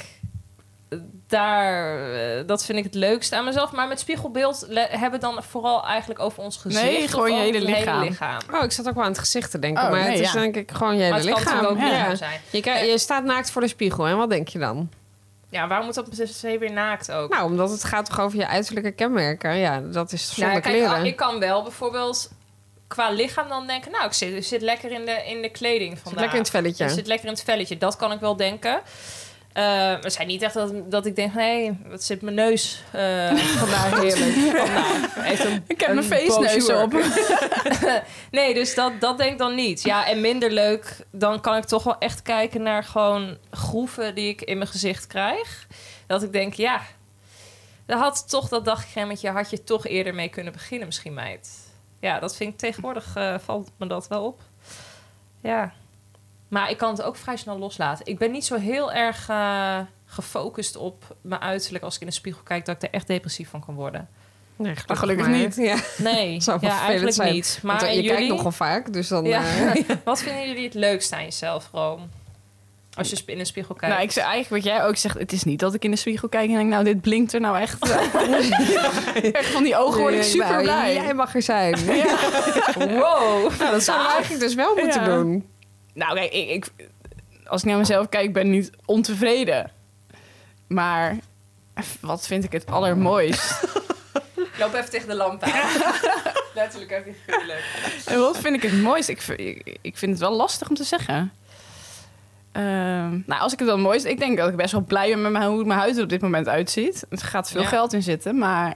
eh, daar eh, dat vind ik het leukste aan mezelf maar met spiegelbeeld le- hebben we dan vooral eigenlijk over ons gezicht
Nee,
of
gewoon je
over
hele
het
lichaam.
Oh, ik zat ook wel aan het gezicht te denken.
Oh,
maar
nee,
het is
ja.
denk ik gewoon je
maar
hele
het kan
lichaam.
natuurlijk ook
ja.
lichaam zijn
Je, ki- je staat naakt voor de spiegel. En wat denk je dan?
ja waarom moet dat per se weer naakt ook
Nou, omdat het gaat toch over je uiterlijke kenmerken. Ja, dat is zonder
Nou, kijk,
kleren.
ah, ik kan wel bijvoorbeeld qua lichaam dan denken nou ik zit, ik zit lekker in de, in de kleding
Zit
vandaag
lekker in het velletje.
Dus Het zit lekker in het velletje. Dat kan ik wel denken. Eh, maar het zijn niet echt dat, dat ik denk... Nee, wat zit mijn neus eh vandaag heerlijk. Vandaag. Heeft een,
Ik heb
een
mijn feestneus
bonjour.
op.
Nee, dus dat, dat denk ik dan niet. Ja, en minder leuk... dan kan ik toch wel echt kijken naar gewoon groeven... die ik in mijn gezicht krijg. Dat ik denk, ja... Daar had toch dat dagcremmetje... had je toch eerder mee kunnen beginnen misschien, meid. Ja, dat vind ik tegenwoordig... eh, valt me dat wel op. Ja. Maar ik kan het ook vrij snel loslaten. Ik ben niet zo heel erg eh, gefocust op mijn uiterlijk als ik in de spiegel kijk, dat ik er echt depressief van kan worden.
Nee,
Maar gelukkig
maar.
niet.
Ja.
Nee,
Zou wel
ja,
vervelend
eigenlijk
zijn.
niet. Maar
Maar je
en jullie,
kijkt nogal vaak, dus dan...
Ja.
eh,
wat vinden jullie het leukste aan jezelf, Room? Als je sp- in de spiegel kijkt.
Nou, ik zeg eigenlijk wat jij ook zegt. Het is niet dat ik in de spiegel kijk en denk, nou, dit blinkt er nou echt. eh, echt van die ogen word ik
Nee, nou,
super blij.
Jij mag er zijn.
Wow.
Nou, dat zouden we eigenlijk dus wel moeten
Ja.
doen.
Nou, kijk, ik, ik- als ik naar mezelf kijk, ben ik niet ontevreden. Maar wat vind ik het allermooist?
Ik loop even tegen de lamp aan. Letterlijk even figuurlijk.
en wat vind ik het mooist? Ik, vind- ik, ik vind het wel lastig om te zeggen. Ehm, nou, als ik het wel mooist... Ik denk dat ik best wel blij ben met mijn, hoe mijn huid er op dit moment uitziet. Er gaat veel
Ja.
geld in zitten, maar...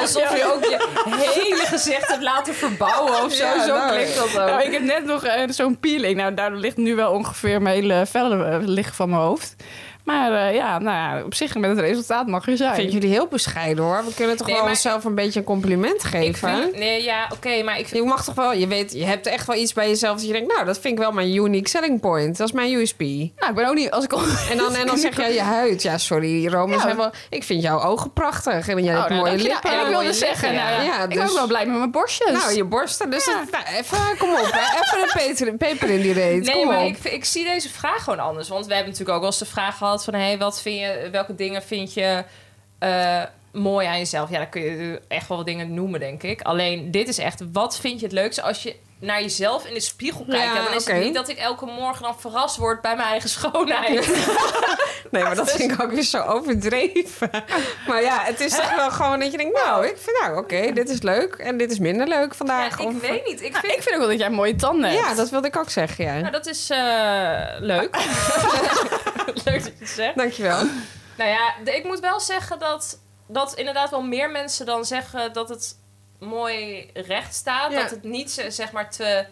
Alsof je ook je hele gezicht hebt laten verbouwen of zo.
Ja,
zo
nou,
klinkt dat ook.
Nou, ik heb net nog eh, zo'n peeling. Nou, daar ligt nu wel ongeveer mijn hele vellen eh, liggen van mijn hoofd. Maar eh, ja, nou ja, op zich met het resultaat mag er zijn.
Ik vind jullie heel bescheiden hoor. We kunnen toch
Nee,
wel
maar-
onszelf een beetje een compliment
Ik
geven.
vind- nee, ja, oké, maar ik vind...
Je mag toch wel, je weet, je hebt echt wel iets bij jezelf dat je denkt, nou, dat vind ik wel mijn unique selling point. Dat is mijn USP.
Nou, ik ben ook niet... Als ik
En dan, en dan zeg jij je huid. Ja, sorry, Rome.
Ja. Oh, nou,
is helemaal- ik vind jouw ogen prachtig. En jij hebt mooie lippen.
en ik
mooie
wilde zeggen,
lippen.
nou,
ja,
ik ben
dus-
ook wel blij met mijn borstjes.
Nou, je borsten. Dus het- nou, even, kom op. Hè. Even een peter, peper in die reet.
Nee,
kom
maar
op.
ik, ik zie deze vraag gewoon anders. Want we hebben natuurlijk ook wel eens de vraag gehad van... Hey, wat vind je, welke dingen vind je eh, mooi aan jezelf? Ja, dan kun je echt wel wat dingen noemen, denk ik. Alleen, dit is echt... Wat vind je het leukste als je naar jezelf in de spiegel kijkt?
Ja,
Ja, dan is
oké.
het niet dat ik elke morgen dan verrast word bij mijn eigen schoonheid.
Nee, maar dat vind ik ook weer zo overdreven. Maar ja, het is toch wel gewoon dat je denkt... nou, ik vind nou, oké, dit is leuk en dit is minder leuk
Ja,
vandaag.
ik
Of-
weet niet. Ik
Nou,
Ah,
vind...
ik vind ook wel dat jij mooie tanden hebt.
ja, dat wilde ik ook zeggen, ja.
Nou, dat is eh, leuk. leuk dat je het zegt.
Dankjewel.
Nou ja, de- ik moet wel zeggen dat, dat inderdaad wel meer mensen dan zeggen dat het mooi recht staat.
Ja.
Dat het niet ze- zeg maar te,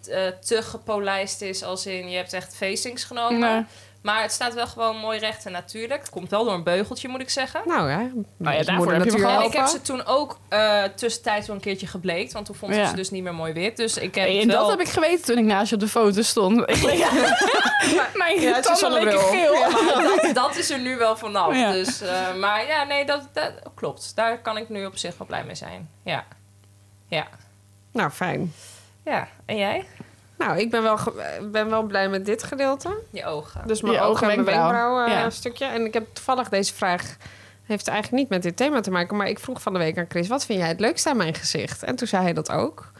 te, te gepolijst is als in je hebt echt facings genomen.
Nee.
Maar het staat wel gewoon mooi recht en natuurlijk. Het komt wel door een beugeltje moet ik zeggen.
Nou ja,
daarvoor heb je
moeder
hem
natuur
gehad.
En
helpen.
ik heb ze toen ook eh tussentijds wel een keertje gebleekt. Want toen vond ik
Ja.
ze dus niet meer mooi wit. Dus ik heb
Hey,
het
en
wel...
dat heb ik geweten toen ik naast je op de foto stond. Ik leek- Mijn
Ja, het is
tanden leken
zonnebril.
geel.
dat, dat is er nu wel vanaf.
Ja.
Dus, eh, maar ja, nee, dat, dat klopt. Daar kan ik nu op zich wel blij mee zijn. Ja. ja.
Nou, fijn.
Ja, en jij?
Nou, ik ben wel, ge- eh, ben wel blij met dit gedeelte.
Je ogen.
Dus mijn
Je
ogen,
ogen
en mijn
wenkbrauw.
wenkbrauwen
Ja.
eh, stukje. En ik heb toevallig deze vraag... heeft eigenlijk niet met dit thema te maken... maar ik vroeg van de week aan Chris... wat vind jij het leukste aan mijn gezicht? En toen zei hij dat ook.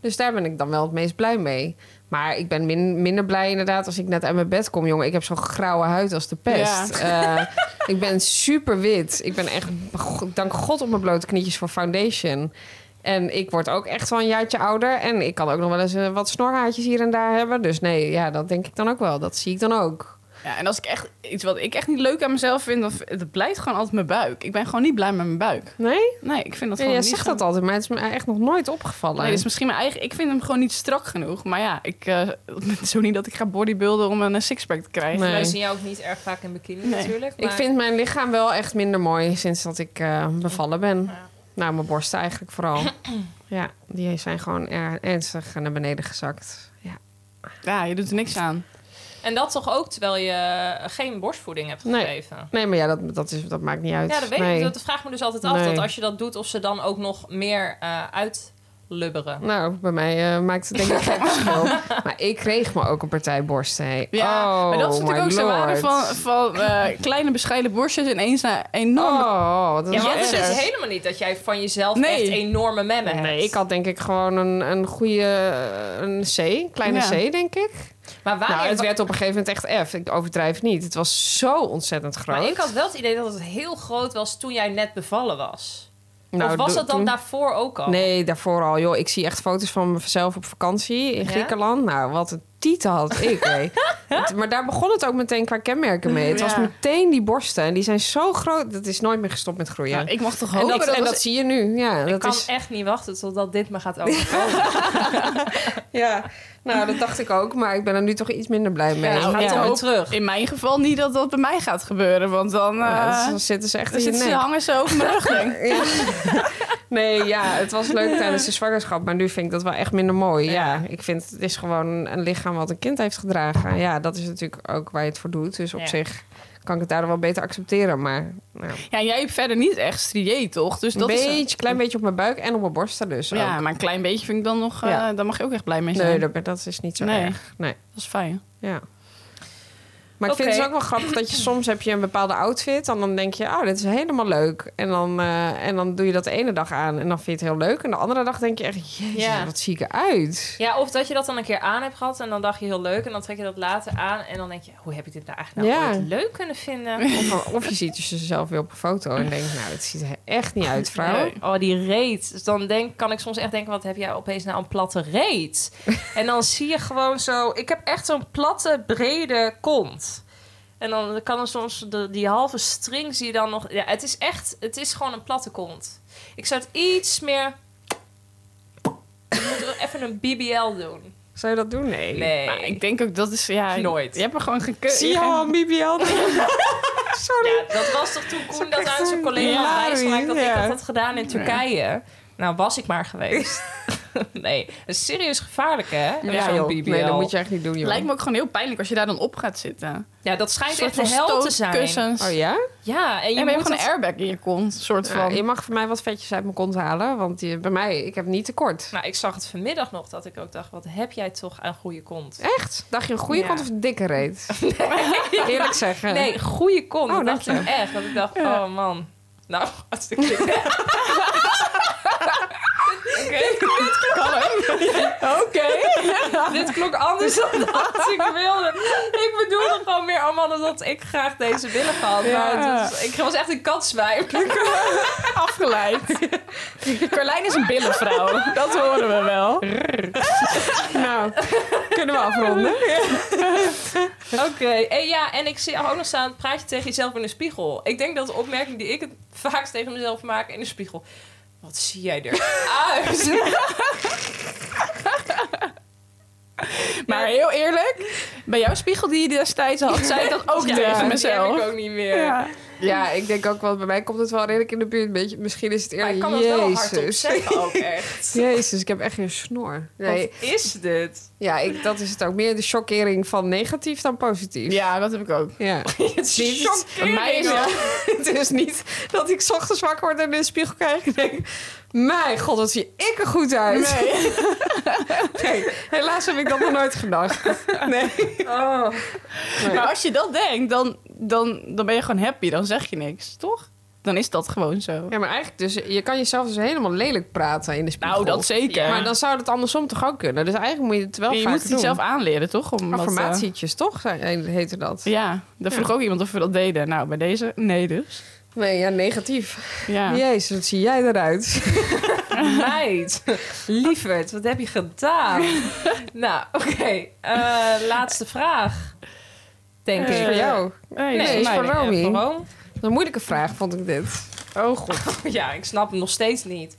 Dus daar ben ik dan wel het meest blij mee. Maar ik ben min- minder blij inderdaad als ik net uit mijn bed kom. Jongen, ik heb zo'n grauwe huid als de pest. Eh, ik ben super wit. Ik ben echt, go- dank god, op mijn blote knietjes voor foundation. En ik word ook echt wel een jaartje ouder. En ik kan ook nog wel eens eh, wat snorhaartjes hier en daar hebben. Dus nee, ja, dat denk ik dan ook wel. Dat zie ik dan ook.
Ja, en als ik echt iets wat ik echt niet leuk aan mezelf vind, dan v- het blijft gewoon altijd mijn buik. Ik ben gewoon niet blij met mijn buik.
Nee?
Nee, ik vind dat
Ja,
gewoon
jij
niet
zegt
zo-
dat altijd, maar het is me echt nog nooit opgevallen.
Nee, dat is misschien mijn eigen. Ik vind hem gewoon niet strak genoeg. Maar ja, ik eh, het is zo niet dat ik ga bodybuilden om een eh, sixpack te krijgen.
Nee.
Wij zien jou ook niet erg vaak in bikini
Nee.
natuurlijk.
Ik
maar-
vind mijn lichaam wel echt minder mooi sinds dat ik eh, bevallen ben. Nou, mijn borsten eigenlijk vooral. ja, die zijn gewoon er- ernstig naar beneden gezakt. Ja.
Ja, je doet er niks aan.
En dat toch ook terwijl je geen borstvoeding hebt
Nee.
gegeven.
Nee, maar ja, dat, dat, is, dat maakt niet uit.
Ja, dat weet
nee.
ik. Dat vraag ik me dus altijd af.
Nee.
Dat als je dat doet, of ze dan ook nog meer eh, uitlubberen.
Nou, bij mij eh, maakt het denk ik geen verschil. Maar ik kreeg me ook een partij borsten. hé.
Ja,
oh,
maar dat is natuurlijk ook
my
zo waarde
lord.
van, van eh, kleine bescheiden borstjes ineens naar enorme...
Oh, dat
Ja,
is
want het is
erg.
dus helemaal niet dat jij van jezelf
Nee.
echt enorme memmen hebt.
Nee, ik had denk ik gewoon een, een goede eh, een C, kleine
Ja.
C, denk ik.
Maar waar
nou, het werd op een gegeven moment echt F. Ik overdrijf niet. Het was zo ontzettend groot.
Maar ik had wel het idee dat het heel groot was toen jij net bevallen was.
Nou,
of was
do-
dat dan
toen-
daarvoor ook al?
Nee, daarvoor al. Joh, ik zie echt foto's van mezelf op vakantie in
Ja?
Griekenland. Nou, wat een tieten had ik. hé. Het- maar daar begon het ook meteen qua kenmerken mee. Het was
Ja.
meteen die borsten. En die zijn zo groot. Dat is nooit meer gestopt met groeien.
Nou,
Ja, ik mag toch
en
hopen
dat,
dat,
en
was-
dat zie je nu. Ja,
ik
dat
kan
is,
echt niet wachten totdat dit me gaat overkomen.
ja, nou, dat dacht ik ook. Maar ik ben er nu toch iets minder blij mee.
Ja,
Ja,
nou, gaat
ik
dan weer
hoop
terug.
In mijn geval niet dat dat bij mij gaat gebeuren, want dan, eh,
dus dan zitten ze echt
dan
in je
zitten ze,
nek.
hangen ze over mijn rug. denk ik.
Ja. Nee, ja, het was leuk tijdens de zwangerschap, maar nu vind ik dat wel echt minder mooi. Ja, ik vind het is gewoon een lichaam wat een kind heeft gedragen. Ja, dat is natuurlijk ook waar je het voor doet. Dus op
Ja.
zich kan ik het daardoor wel beter accepteren. Maar nou,
Ja, jij hebt verder niet echt strié, toch? Dus
een
dat is...
beetje, klein beetje op mijn buik en op mijn borsten dus. ook.
Ja, maar een klein beetje vind ik dan nog... eh,
Ja.
Daar mag je ook echt blij mee zijn.
Nee, dat, dat is niet zo
Nee.
erg. Nee.
Dat is fijn.
Ja. Maar ik vind
Oké.
het dus ook wel grappig dat je soms heb je een bepaalde outfit en dan denk je, oh, dit is helemaal leuk. En dan, eh, en dan doe je dat de ene dag aan en dan vind je het heel leuk. En de andere dag denk je echt, jezus,
Ja.
wat zie ik eruit.
Ja, of dat je dat dan een keer aan hebt gehad en dan dacht je heel leuk. En dan trek je dat later aan en dan denk je, hoe heb ik dit nou eigenlijk nou
Ja.
ooit leuk kunnen vinden?
Of, of je ziet dus jezelf weer op een foto en denkt, nou, het ziet er echt niet uit, vrouw.
Nee. Oh, die reet. Dus dan denk, kan ik soms echt denken, wat heb jij opeens nou een platte reet? en dan zie je gewoon zo... Ik heb echt zo'n platte, brede kont. En dan kan er soms de, die halve string zie je dan nog... Ja, het is echt... Het is gewoon een platte kont. Ik zou het iets meer... Ik moet wel even een BBL doen.
Zou je dat doen? Nee.
Nee.
Maar ik denk ook dat is... Ja,
Nooit.
Je hebt er gewoon geen keu-
Zie je al een BBL? Sorry.
Ja, dat was toch toen Koen dat aan zijn collega
Ja,
had wijsgemaakt dat ik
ja.
dat had gedaan in Turkije. Nou, was ik maar geweest. nee, dat is serieus gevaarlijk, hè? Ja, zo'n BBL.
Nee, dat moet je echt niet doen, joh.
Lijkt me ook gewoon heel pijnlijk als je daar dan op gaat zitten.
Ja, dat schijnt
soort
echt de
van
hel te zijn.
stootkussens.
Oh ja?
Ja, en
En
je
we
moet
hebben gewoon
het-
een airbag in je kont, soort
Ja,
van.
je mag voor mij wat vetjes uit mijn kont halen, want die, bij mij, ik heb niet tekort.
Nou, ik zag het vanmiddag nog dat ik ook dacht, wat heb jij toch aan goede kont?
Echt? Dacht je een goede
Ja.
kont of een dikke reet? Eerlijk zeggen.
Nee, goede kont.
Oh,
dat dacht
dank
ik echt. Dat ik dacht, oh man. Nou, hartstikke leuk. Oké. Oké. Dit klonk anders dan dat ik wilde. Ik bedoelde gewoon meer, oh man, dat ik graag deze willen gehad. Maar het was, ik was echt een katzwijf.
afgeleid. Carlijn is een billenvrouw. Dat horen we wel.
Nou, kunnen we afronden?
Oké, en ja, en ik zie ook nog staan, praat je tegen jezelf in de spiegel. Ik denk dat de opmerking die ik het vaakst tegen mezelf maak in de spiegel. Wat zie jij eruit?
Maar heel eerlijk, bij jouw spiegel die je destijds had, zei ik dat ook
Ja,
tegen
die
mezelf.
heb ik ook niet meer.
Ja.
Ja, ik denk ook wel, bij mij komt het wel redelijk in de buurt. Beetje, misschien is het eerder
Maar ik kan het wel hardop zeggen ook echt.
Jezus, ik heb echt geen snor. Nee,
Wat is dit?
ja, ik, dat is het ook. Meer de shockering van negatief dan positief.
Ja, dat heb ik ook.
Ja.
Het is
Bij mij is het-
het is niet dat ik 's ochtends wakker word en in de spiegel kijk en denk... Mijn god, wat zie ik er goed uit. Nee. helaas heb ik dat nog nooit gedacht. Nee.
Oh,
Maar als je dat denkt, dan, dan, dan ben je gewoon happy. Dan zeg je niks, toch? Dan is dat gewoon zo.
Ja, maar eigenlijk dus, je kan jezelf dus helemaal lelijk praten in de spiegel.
Nou, dat zeker.
Maar dan zou dat andersom toch ook kunnen? Dus eigenlijk moet je het wel
En je
vaker
moet het
doen.
zelf aanleren, toch? Om wat, eh,
Affirmatietjes, toch? Zijn- eh, Heette dat?
ja, daar vroeg ook iemand of we dat deden. Nou, bij deze, nee dus.
Nee, ja, negatief.
Ja.
Jezus, wat zie jij eruit?
Meid, lieverd, wat heb je gedaan? nou, oké. eh, laatste vraag. Denk
Dat is
ik.
voor jou.
Nee,
Nee, is voor
mij.
Romy.
Eh, voor Rome.
Dat is een moeilijke vraag, vond ik dit.
Oh god.
Ja, ik snap hem nog steeds niet.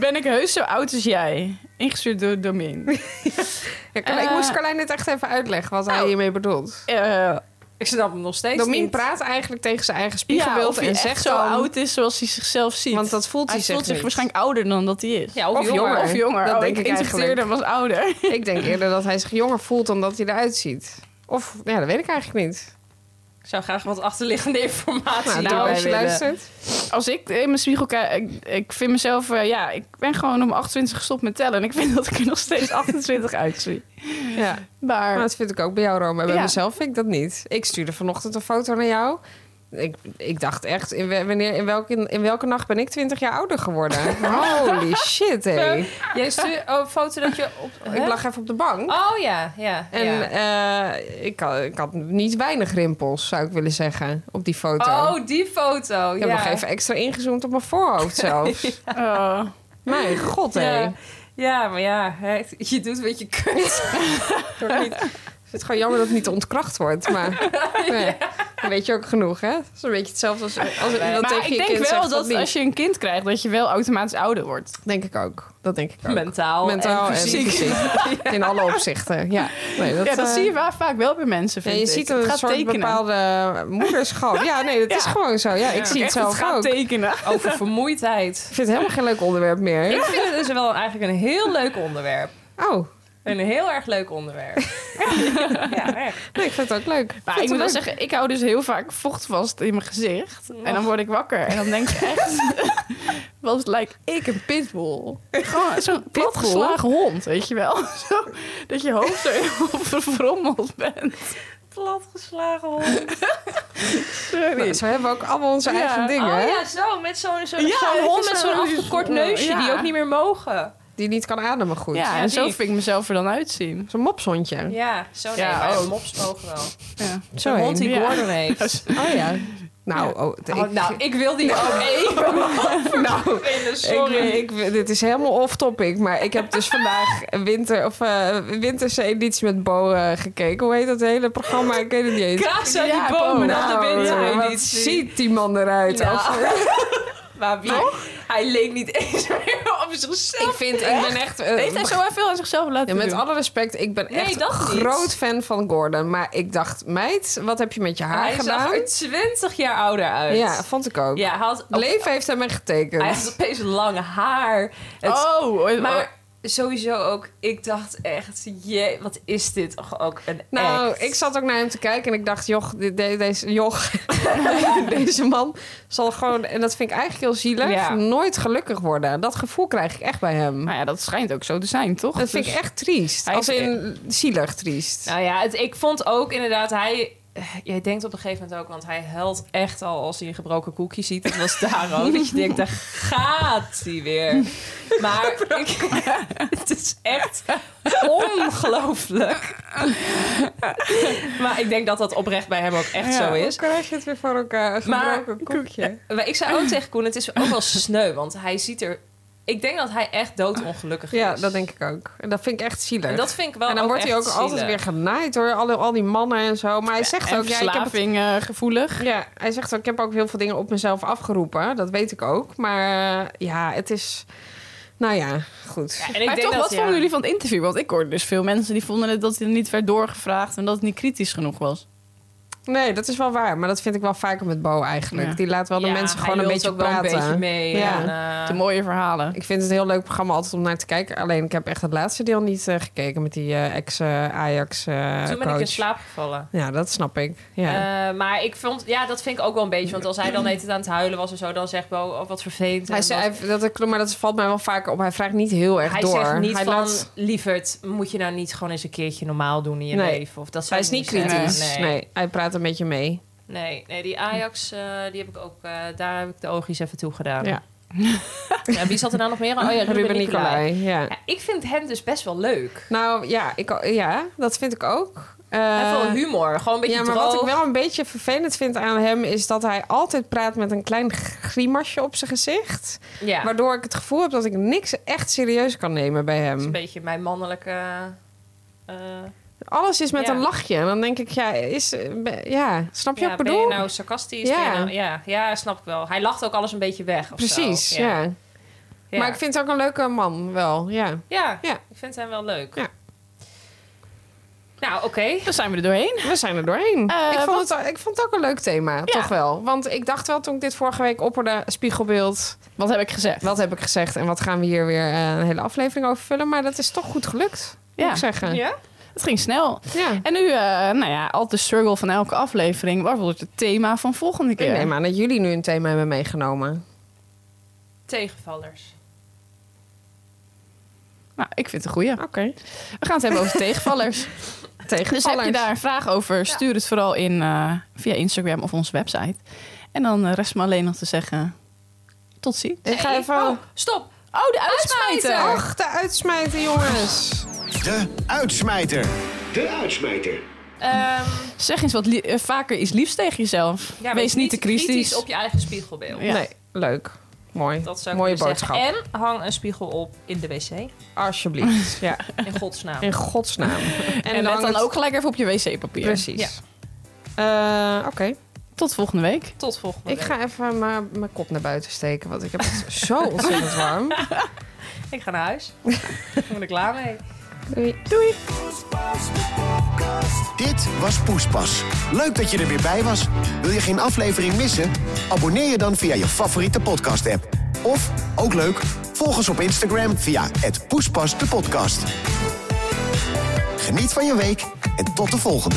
Ben ik heus zo oud als jij? Ingestuurd door Domin.
Ja, Carlijn- ik
Eh, nou,
moest Carlijn dit echt even uitleggen wat hij hiermee bedoelt.
Eh
Ik snap hem nog steeds
Domien
niet.
praat eigenlijk tegen zijn eigen
ja,
spiegelbeeld
of hij
en
echt
zegt
zo
dan-
oud is zoals hij zichzelf ziet.
Want dat voelt hij,
hij voelt
zich
zich
niet.
waarschijnlijk ouder dan dat hij is.
Ja, of,
Of
jonger.
jonger.
Of jonger.
Dat
oh,
denk ik
ik
eigenlijk.
interpreteerde hem als ouder.
Ik denk eerder dat hij zich jonger voelt dan dat hij eruit ziet. Of, ja, dat weet ik eigenlijk niet.
Ik zou graag wat achterliggende informatie
Nou, nou
wij
als je
willen-
luistert.
Als ik in mijn spiegel kijk, ik, ik vind mezelf... eh, ja, ik ben gewoon om 28 gestopt met tellen. En ik vind dat ik er nog steeds 28 uitzie.
Ja.
Maar
Maar dat vind ik ook bij jou, Rome. Bij
Ja.
mezelf vind ik dat niet. Ik stuurde vanochtend een foto naar jou. Ik, ik dacht echt, in, we- wanneer, in, welke, in welke nacht ben ik 20 jaar ouder geworden? Holy shit, hé.
Jij stuurt oh, een foto dat je op...
Ik lag even op de bank.
Oh ja, ja.
En
ja.
eh, ik, had, ik had niet weinig rimpels, zou ik willen zeggen, op die foto.
Oh, die foto.
ik
ja.
heb nog even extra ingezoomd op mijn voorhoofd zelfs.
eh,
Mijn god, hé.
Ja. Ja, maar ja, hè, je doet wat je kunt.
Het is gewoon jammer dat het niet ontkracht wordt, maar nee. Dan weet je ook genoeg, hè? Dat is een beetje hetzelfde als, als als iemand
maar
tegen
ik
je
denk
kind
wel
zegt
dat
niet.
als je een kind krijgt, dat je wel automatisch ouder wordt.
Denk ik ook. Dat denk ik ook.
Mentaal,
Mentaal
en
en
fysiek.
fysiek. In alle opzichten, ja. Nee, dat,
ja, dat
eh,
zie je wel, vaak wel bij mensen,
ja,
vind
je
ik.
ziet
Het
een
gaat
soort
tekenen.
bepaalde moederschap. Ja, nee, dat is
Ja.
gewoon zo. Ja, ik zie het
Echt, het
zelf
gaat
ook. Ik
tekenen.
Over vermoeidheid.
vind het helemaal geen leuk onderwerp meer.
Ik vind het dus wel eigenlijk een heel leuk onderwerp.
Oh,
Een heel erg leuk onderwerp. ja, echt.
nee, ik vind het ook leuk.
Maar Nou, ik moet wel zeggen, ik hou dus heel vaak vocht vast in mijn gezicht. En dan word ik wakker. En dan denk ik echt... Wat lijkt ik een pitbull? Gewoon zo'n platgeslagen hond, weet je wel? Zo, dat je hoofd zo helemaal verfrommeld bent.
Platgeslagen hond.
Nou,
Sorry.
zo hebben we ook allemaal onze
Ja.
eigen dingen,
Oh
hè?
ja, zo. Met zo'n zo'n
Ja,
zo'n hond met
zo'n-
zo'n afgekort
zo'n-
neusje die
ja.
ook niet meer mogen.
Die niet kan ademen goed.
Ja,
Ja,
en zo
die.
vind ik mezelf er dan uitzien.
Zo'n mopshondje.
Ja, zo nee.
Ja,
maar
ook.
mops mogen wel.
Ja.
Zo
Zo'n
heen.
hond die
Ja.
Gordon heeft.
Oh ja. Nou, oh, ik,
Oh, nou, ik wil die ook even nou, vinden. Sorry.
Ik, ik, dit is helemaal off-topic, maar ik heb dus vandaag een winter, of, eh, winterse editie met Bo eh, gekeken. Hoe heet dat hele programma? Ik weet het niet eens.
Kaas aan
Ja,
die bomen
boom.
op de
Nou, wat
wintereditie.
ziet die man eruit?
Ja.
Als-
Maar wie? Hij leek niet eens meer op zichzelf.
Ik vind, ik ben echt... eh,
Heeft hij zo wel veel aan zichzelf laten
ja, met
doen?
alle respect, ik ben
Nee,
echt
dat niet.
groot fan van Gordon. Maar ik dacht, meid, wat heb je met je haar
Hij zag
gedaan?
er 20 jaar ouder uit.
Ja, vond ik ook.
ja hij had,
Leven heeft hem echt getekend.
hij had opeens lang haar. Het-
oh, eh,
Maar sowieso ook, ik dacht echt, jee, wat is dit? Och, ook een
Nou,
act.
ik zat ook naar hem te kijken en ik dacht, joh, de- de- deze, joch, deze man zal gewoon, en dat vind ik eigenlijk heel zielig,
Ja.
nooit gelukkig worden. Dat gevoel krijg ik echt bij hem.
Nou ja, dat schijnt ook zo te zijn, toch?
Dat vind ik
Dus-
echt triest.
Hij eh,
Als
heeft-
in zielig triest.
Nou ja, het, ik vond ook inderdaad, hij... eh, Jij denkt op een gegeven moment ook, want hij huilt echt al als hij een gebroken koekje ziet. Dat was daar ook. Dat je denkt, daar gaat hij weer. Maar ik, het is echt ongelooflijk. Maar ik denk dat dat oprecht bij hem ook echt zo
Hoe
is.
krijg je het weer voor elkaar? Een
Maar-
gebroken koekje.
Maar ik zei ook tegen Koen, het is ook wel sneu. Want hij ziet er... Ik denk dat hij echt doodongelukkig is.
Ja, dat denk ik ook. En dat vind ik echt zielig.
En dat vind ik wel
En dan wordt hij ook
echt
altijd
zielig.
weer genaaid door al, al die mannen en zo. Maar hij zegt
En
ook, ja, ik heb het
verslaving eh, gevoelig.
Ja, hij zegt ook, ik heb ook heel veel dingen op mezelf afgeroepen. Dat weet ik ook. Maar eh, ja, het is... Nou ja, goed.
Ja, en ik
maar
denk
toch,
dat,
wat vonden
ja.
jullie van het interview? Want ik hoorde dus veel mensen die vonden het dat hij niet werd doorgevraagd en dat het niet kritisch genoeg was.
Nee, dat is wel waar. Maar dat vind ik wel vaker met Bo eigenlijk.
Ja.
Die laat wel de
Ja,
mensen
hij
gewoon een
lult
beetje
ook wel
praten.
een beetje mee.
Ja.
en,
De
eh,
mooie verhalen.
Ik vind het een heel leuk programma altijd om naar te kijken. Alleen ik heb echt het laatste deel niet eh, gekeken met die ex-Ajax
toen ben
eh, coach.
ik in slaap gevallen.
Ja, dat snap ik. Ja.
Eh, maar ik vond, ja, dat vind ik ook wel een beetje. Want als hij dan heet het aan het huilen was en zo, dan zegt Bo, oh, wat vervelend.
hij
en
zei,
wat-
hij- dat, klopt, maar dat valt mij wel vaker op. Hij vraagt niet heel erg
hij
door.
zegt niet
hij
van,
laat-
lieverd, moet je nou niet gewoon eens een keertje normaal doen in je
Nee.
leven? Of dat zou
hij is
ik
niet
zeggen.
kritisch. Nee.
eh, nee.
hij praat een beetje mee.
Nee, nee, die Ajax, eh, die heb ik ook, eh, daar heb ik de oogjes even toe gedaan.
Ja.
Ja, wie zat er nou nog meer aan? Oh ja, Ruben,
Ruben
Nicolai.
Nicolai. Ja.
Ja, ik vind hem dus best wel leuk.
Nou ja, ik, ja, dat vind ik ook.
Hij heeft wel
Eh,
humor, gewoon een beetje
ja, maar
droog.
wat ik wel een beetje vervelend vind aan hem is dat hij altijd praat met een klein grimasje op zijn gezicht.
Ja, dat
Waardoor ik het gevoel heb dat ik niks echt serieus kan nemen bij
is een
hem.
beetje mijn mannelijke... eh,
Alles is met
Ja.
een lachje. En dan denk ik, ja, is, eh, be- ja snap je
ja,
wat ik
ben
bedoel?
je nou sarcastisch?
Ja.
Ben je nou- ja, ja, snap ik wel. Hij lacht ook alles een beetje weg. Of
Precies,
zo.
ja.
Ja.
Maar ik vind het ook een leuke man, wel. Ja.
Ja,
Ja.
ik vind hem wel leuk.
Ja.
Nou, oké.
Dan zijn we er doorheen.
We zijn er doorheen.
Eh,
ik, vond het, ik vond het ook een leuk thema, toch wel. Want ik dacht wel toen ik dit vorige week opperde, spiegelbeeld.
Wat heb ik gezegd?
Wat heb ik gezegd en wat gaan we hier weer eh, een hele aflevering over vullen. Maar dat is toch goed gelukt, moet
Ja.
ik zeggen. Ja.
Ja?
Het ging snel.
ja.
En nu, eh, nou ja, altijd de struggle van elke aflevering. Wat wordt het thema van volgende
Ik
keer?
neem aan dat jullie nu een thema hebben meegenomen.
Tegenvallers.
Nou, ik vind het een goeie.
Oké.
We gaan het hebben over tegenvallers.
Tegenvallers.
Dus heb je daar een vraag over, stuur het vooral in eh, via Instagram of onze website. En dan eh, rest me alleen nog te zeggen, tot ziens.
Ik ga even...
Oh, stop.
Oh, de
uitsmijter!
uitsmijter!
Ach, de uitsmijten, jongens.
De uitsmijter.
De uitsmijter.
Ehm,
Zeg eens wat li- eh, vaker iets liefs tegen jezelf.
ja,
Wees niet te kritisch.
op je eigen spiegelbeeld.
Ja.
Nee, leuk. Mooi.
Dat zou ik
Mooie
willen
boodschap.
zeggen. En hang een spiegel op in de wc.
Alsjeblieft. ja,
In godsnaam.
in godsnaam. En,
En let
hangt-
dan ook gelijk even op je wc-papier.
Precies.
Ja.
Eh, Oké,
Tot volgende week.
Tot volgende
ik
week.
ga even mijn mijn kop naar buiten steken, want ik heb het zo ontzettend warm.
Ik ga naar huis. Daar ben ik klaar mee.
Doei.
Dit was Poespas. Leuk dat je er weer bij was. Wil je geen aflevering missen? Abonneer je dan via je favoriete podcast-app. Of, ook leuk, volg ons op Instagram via het Poespas de podcast. Geniet van je week en tot de volgende.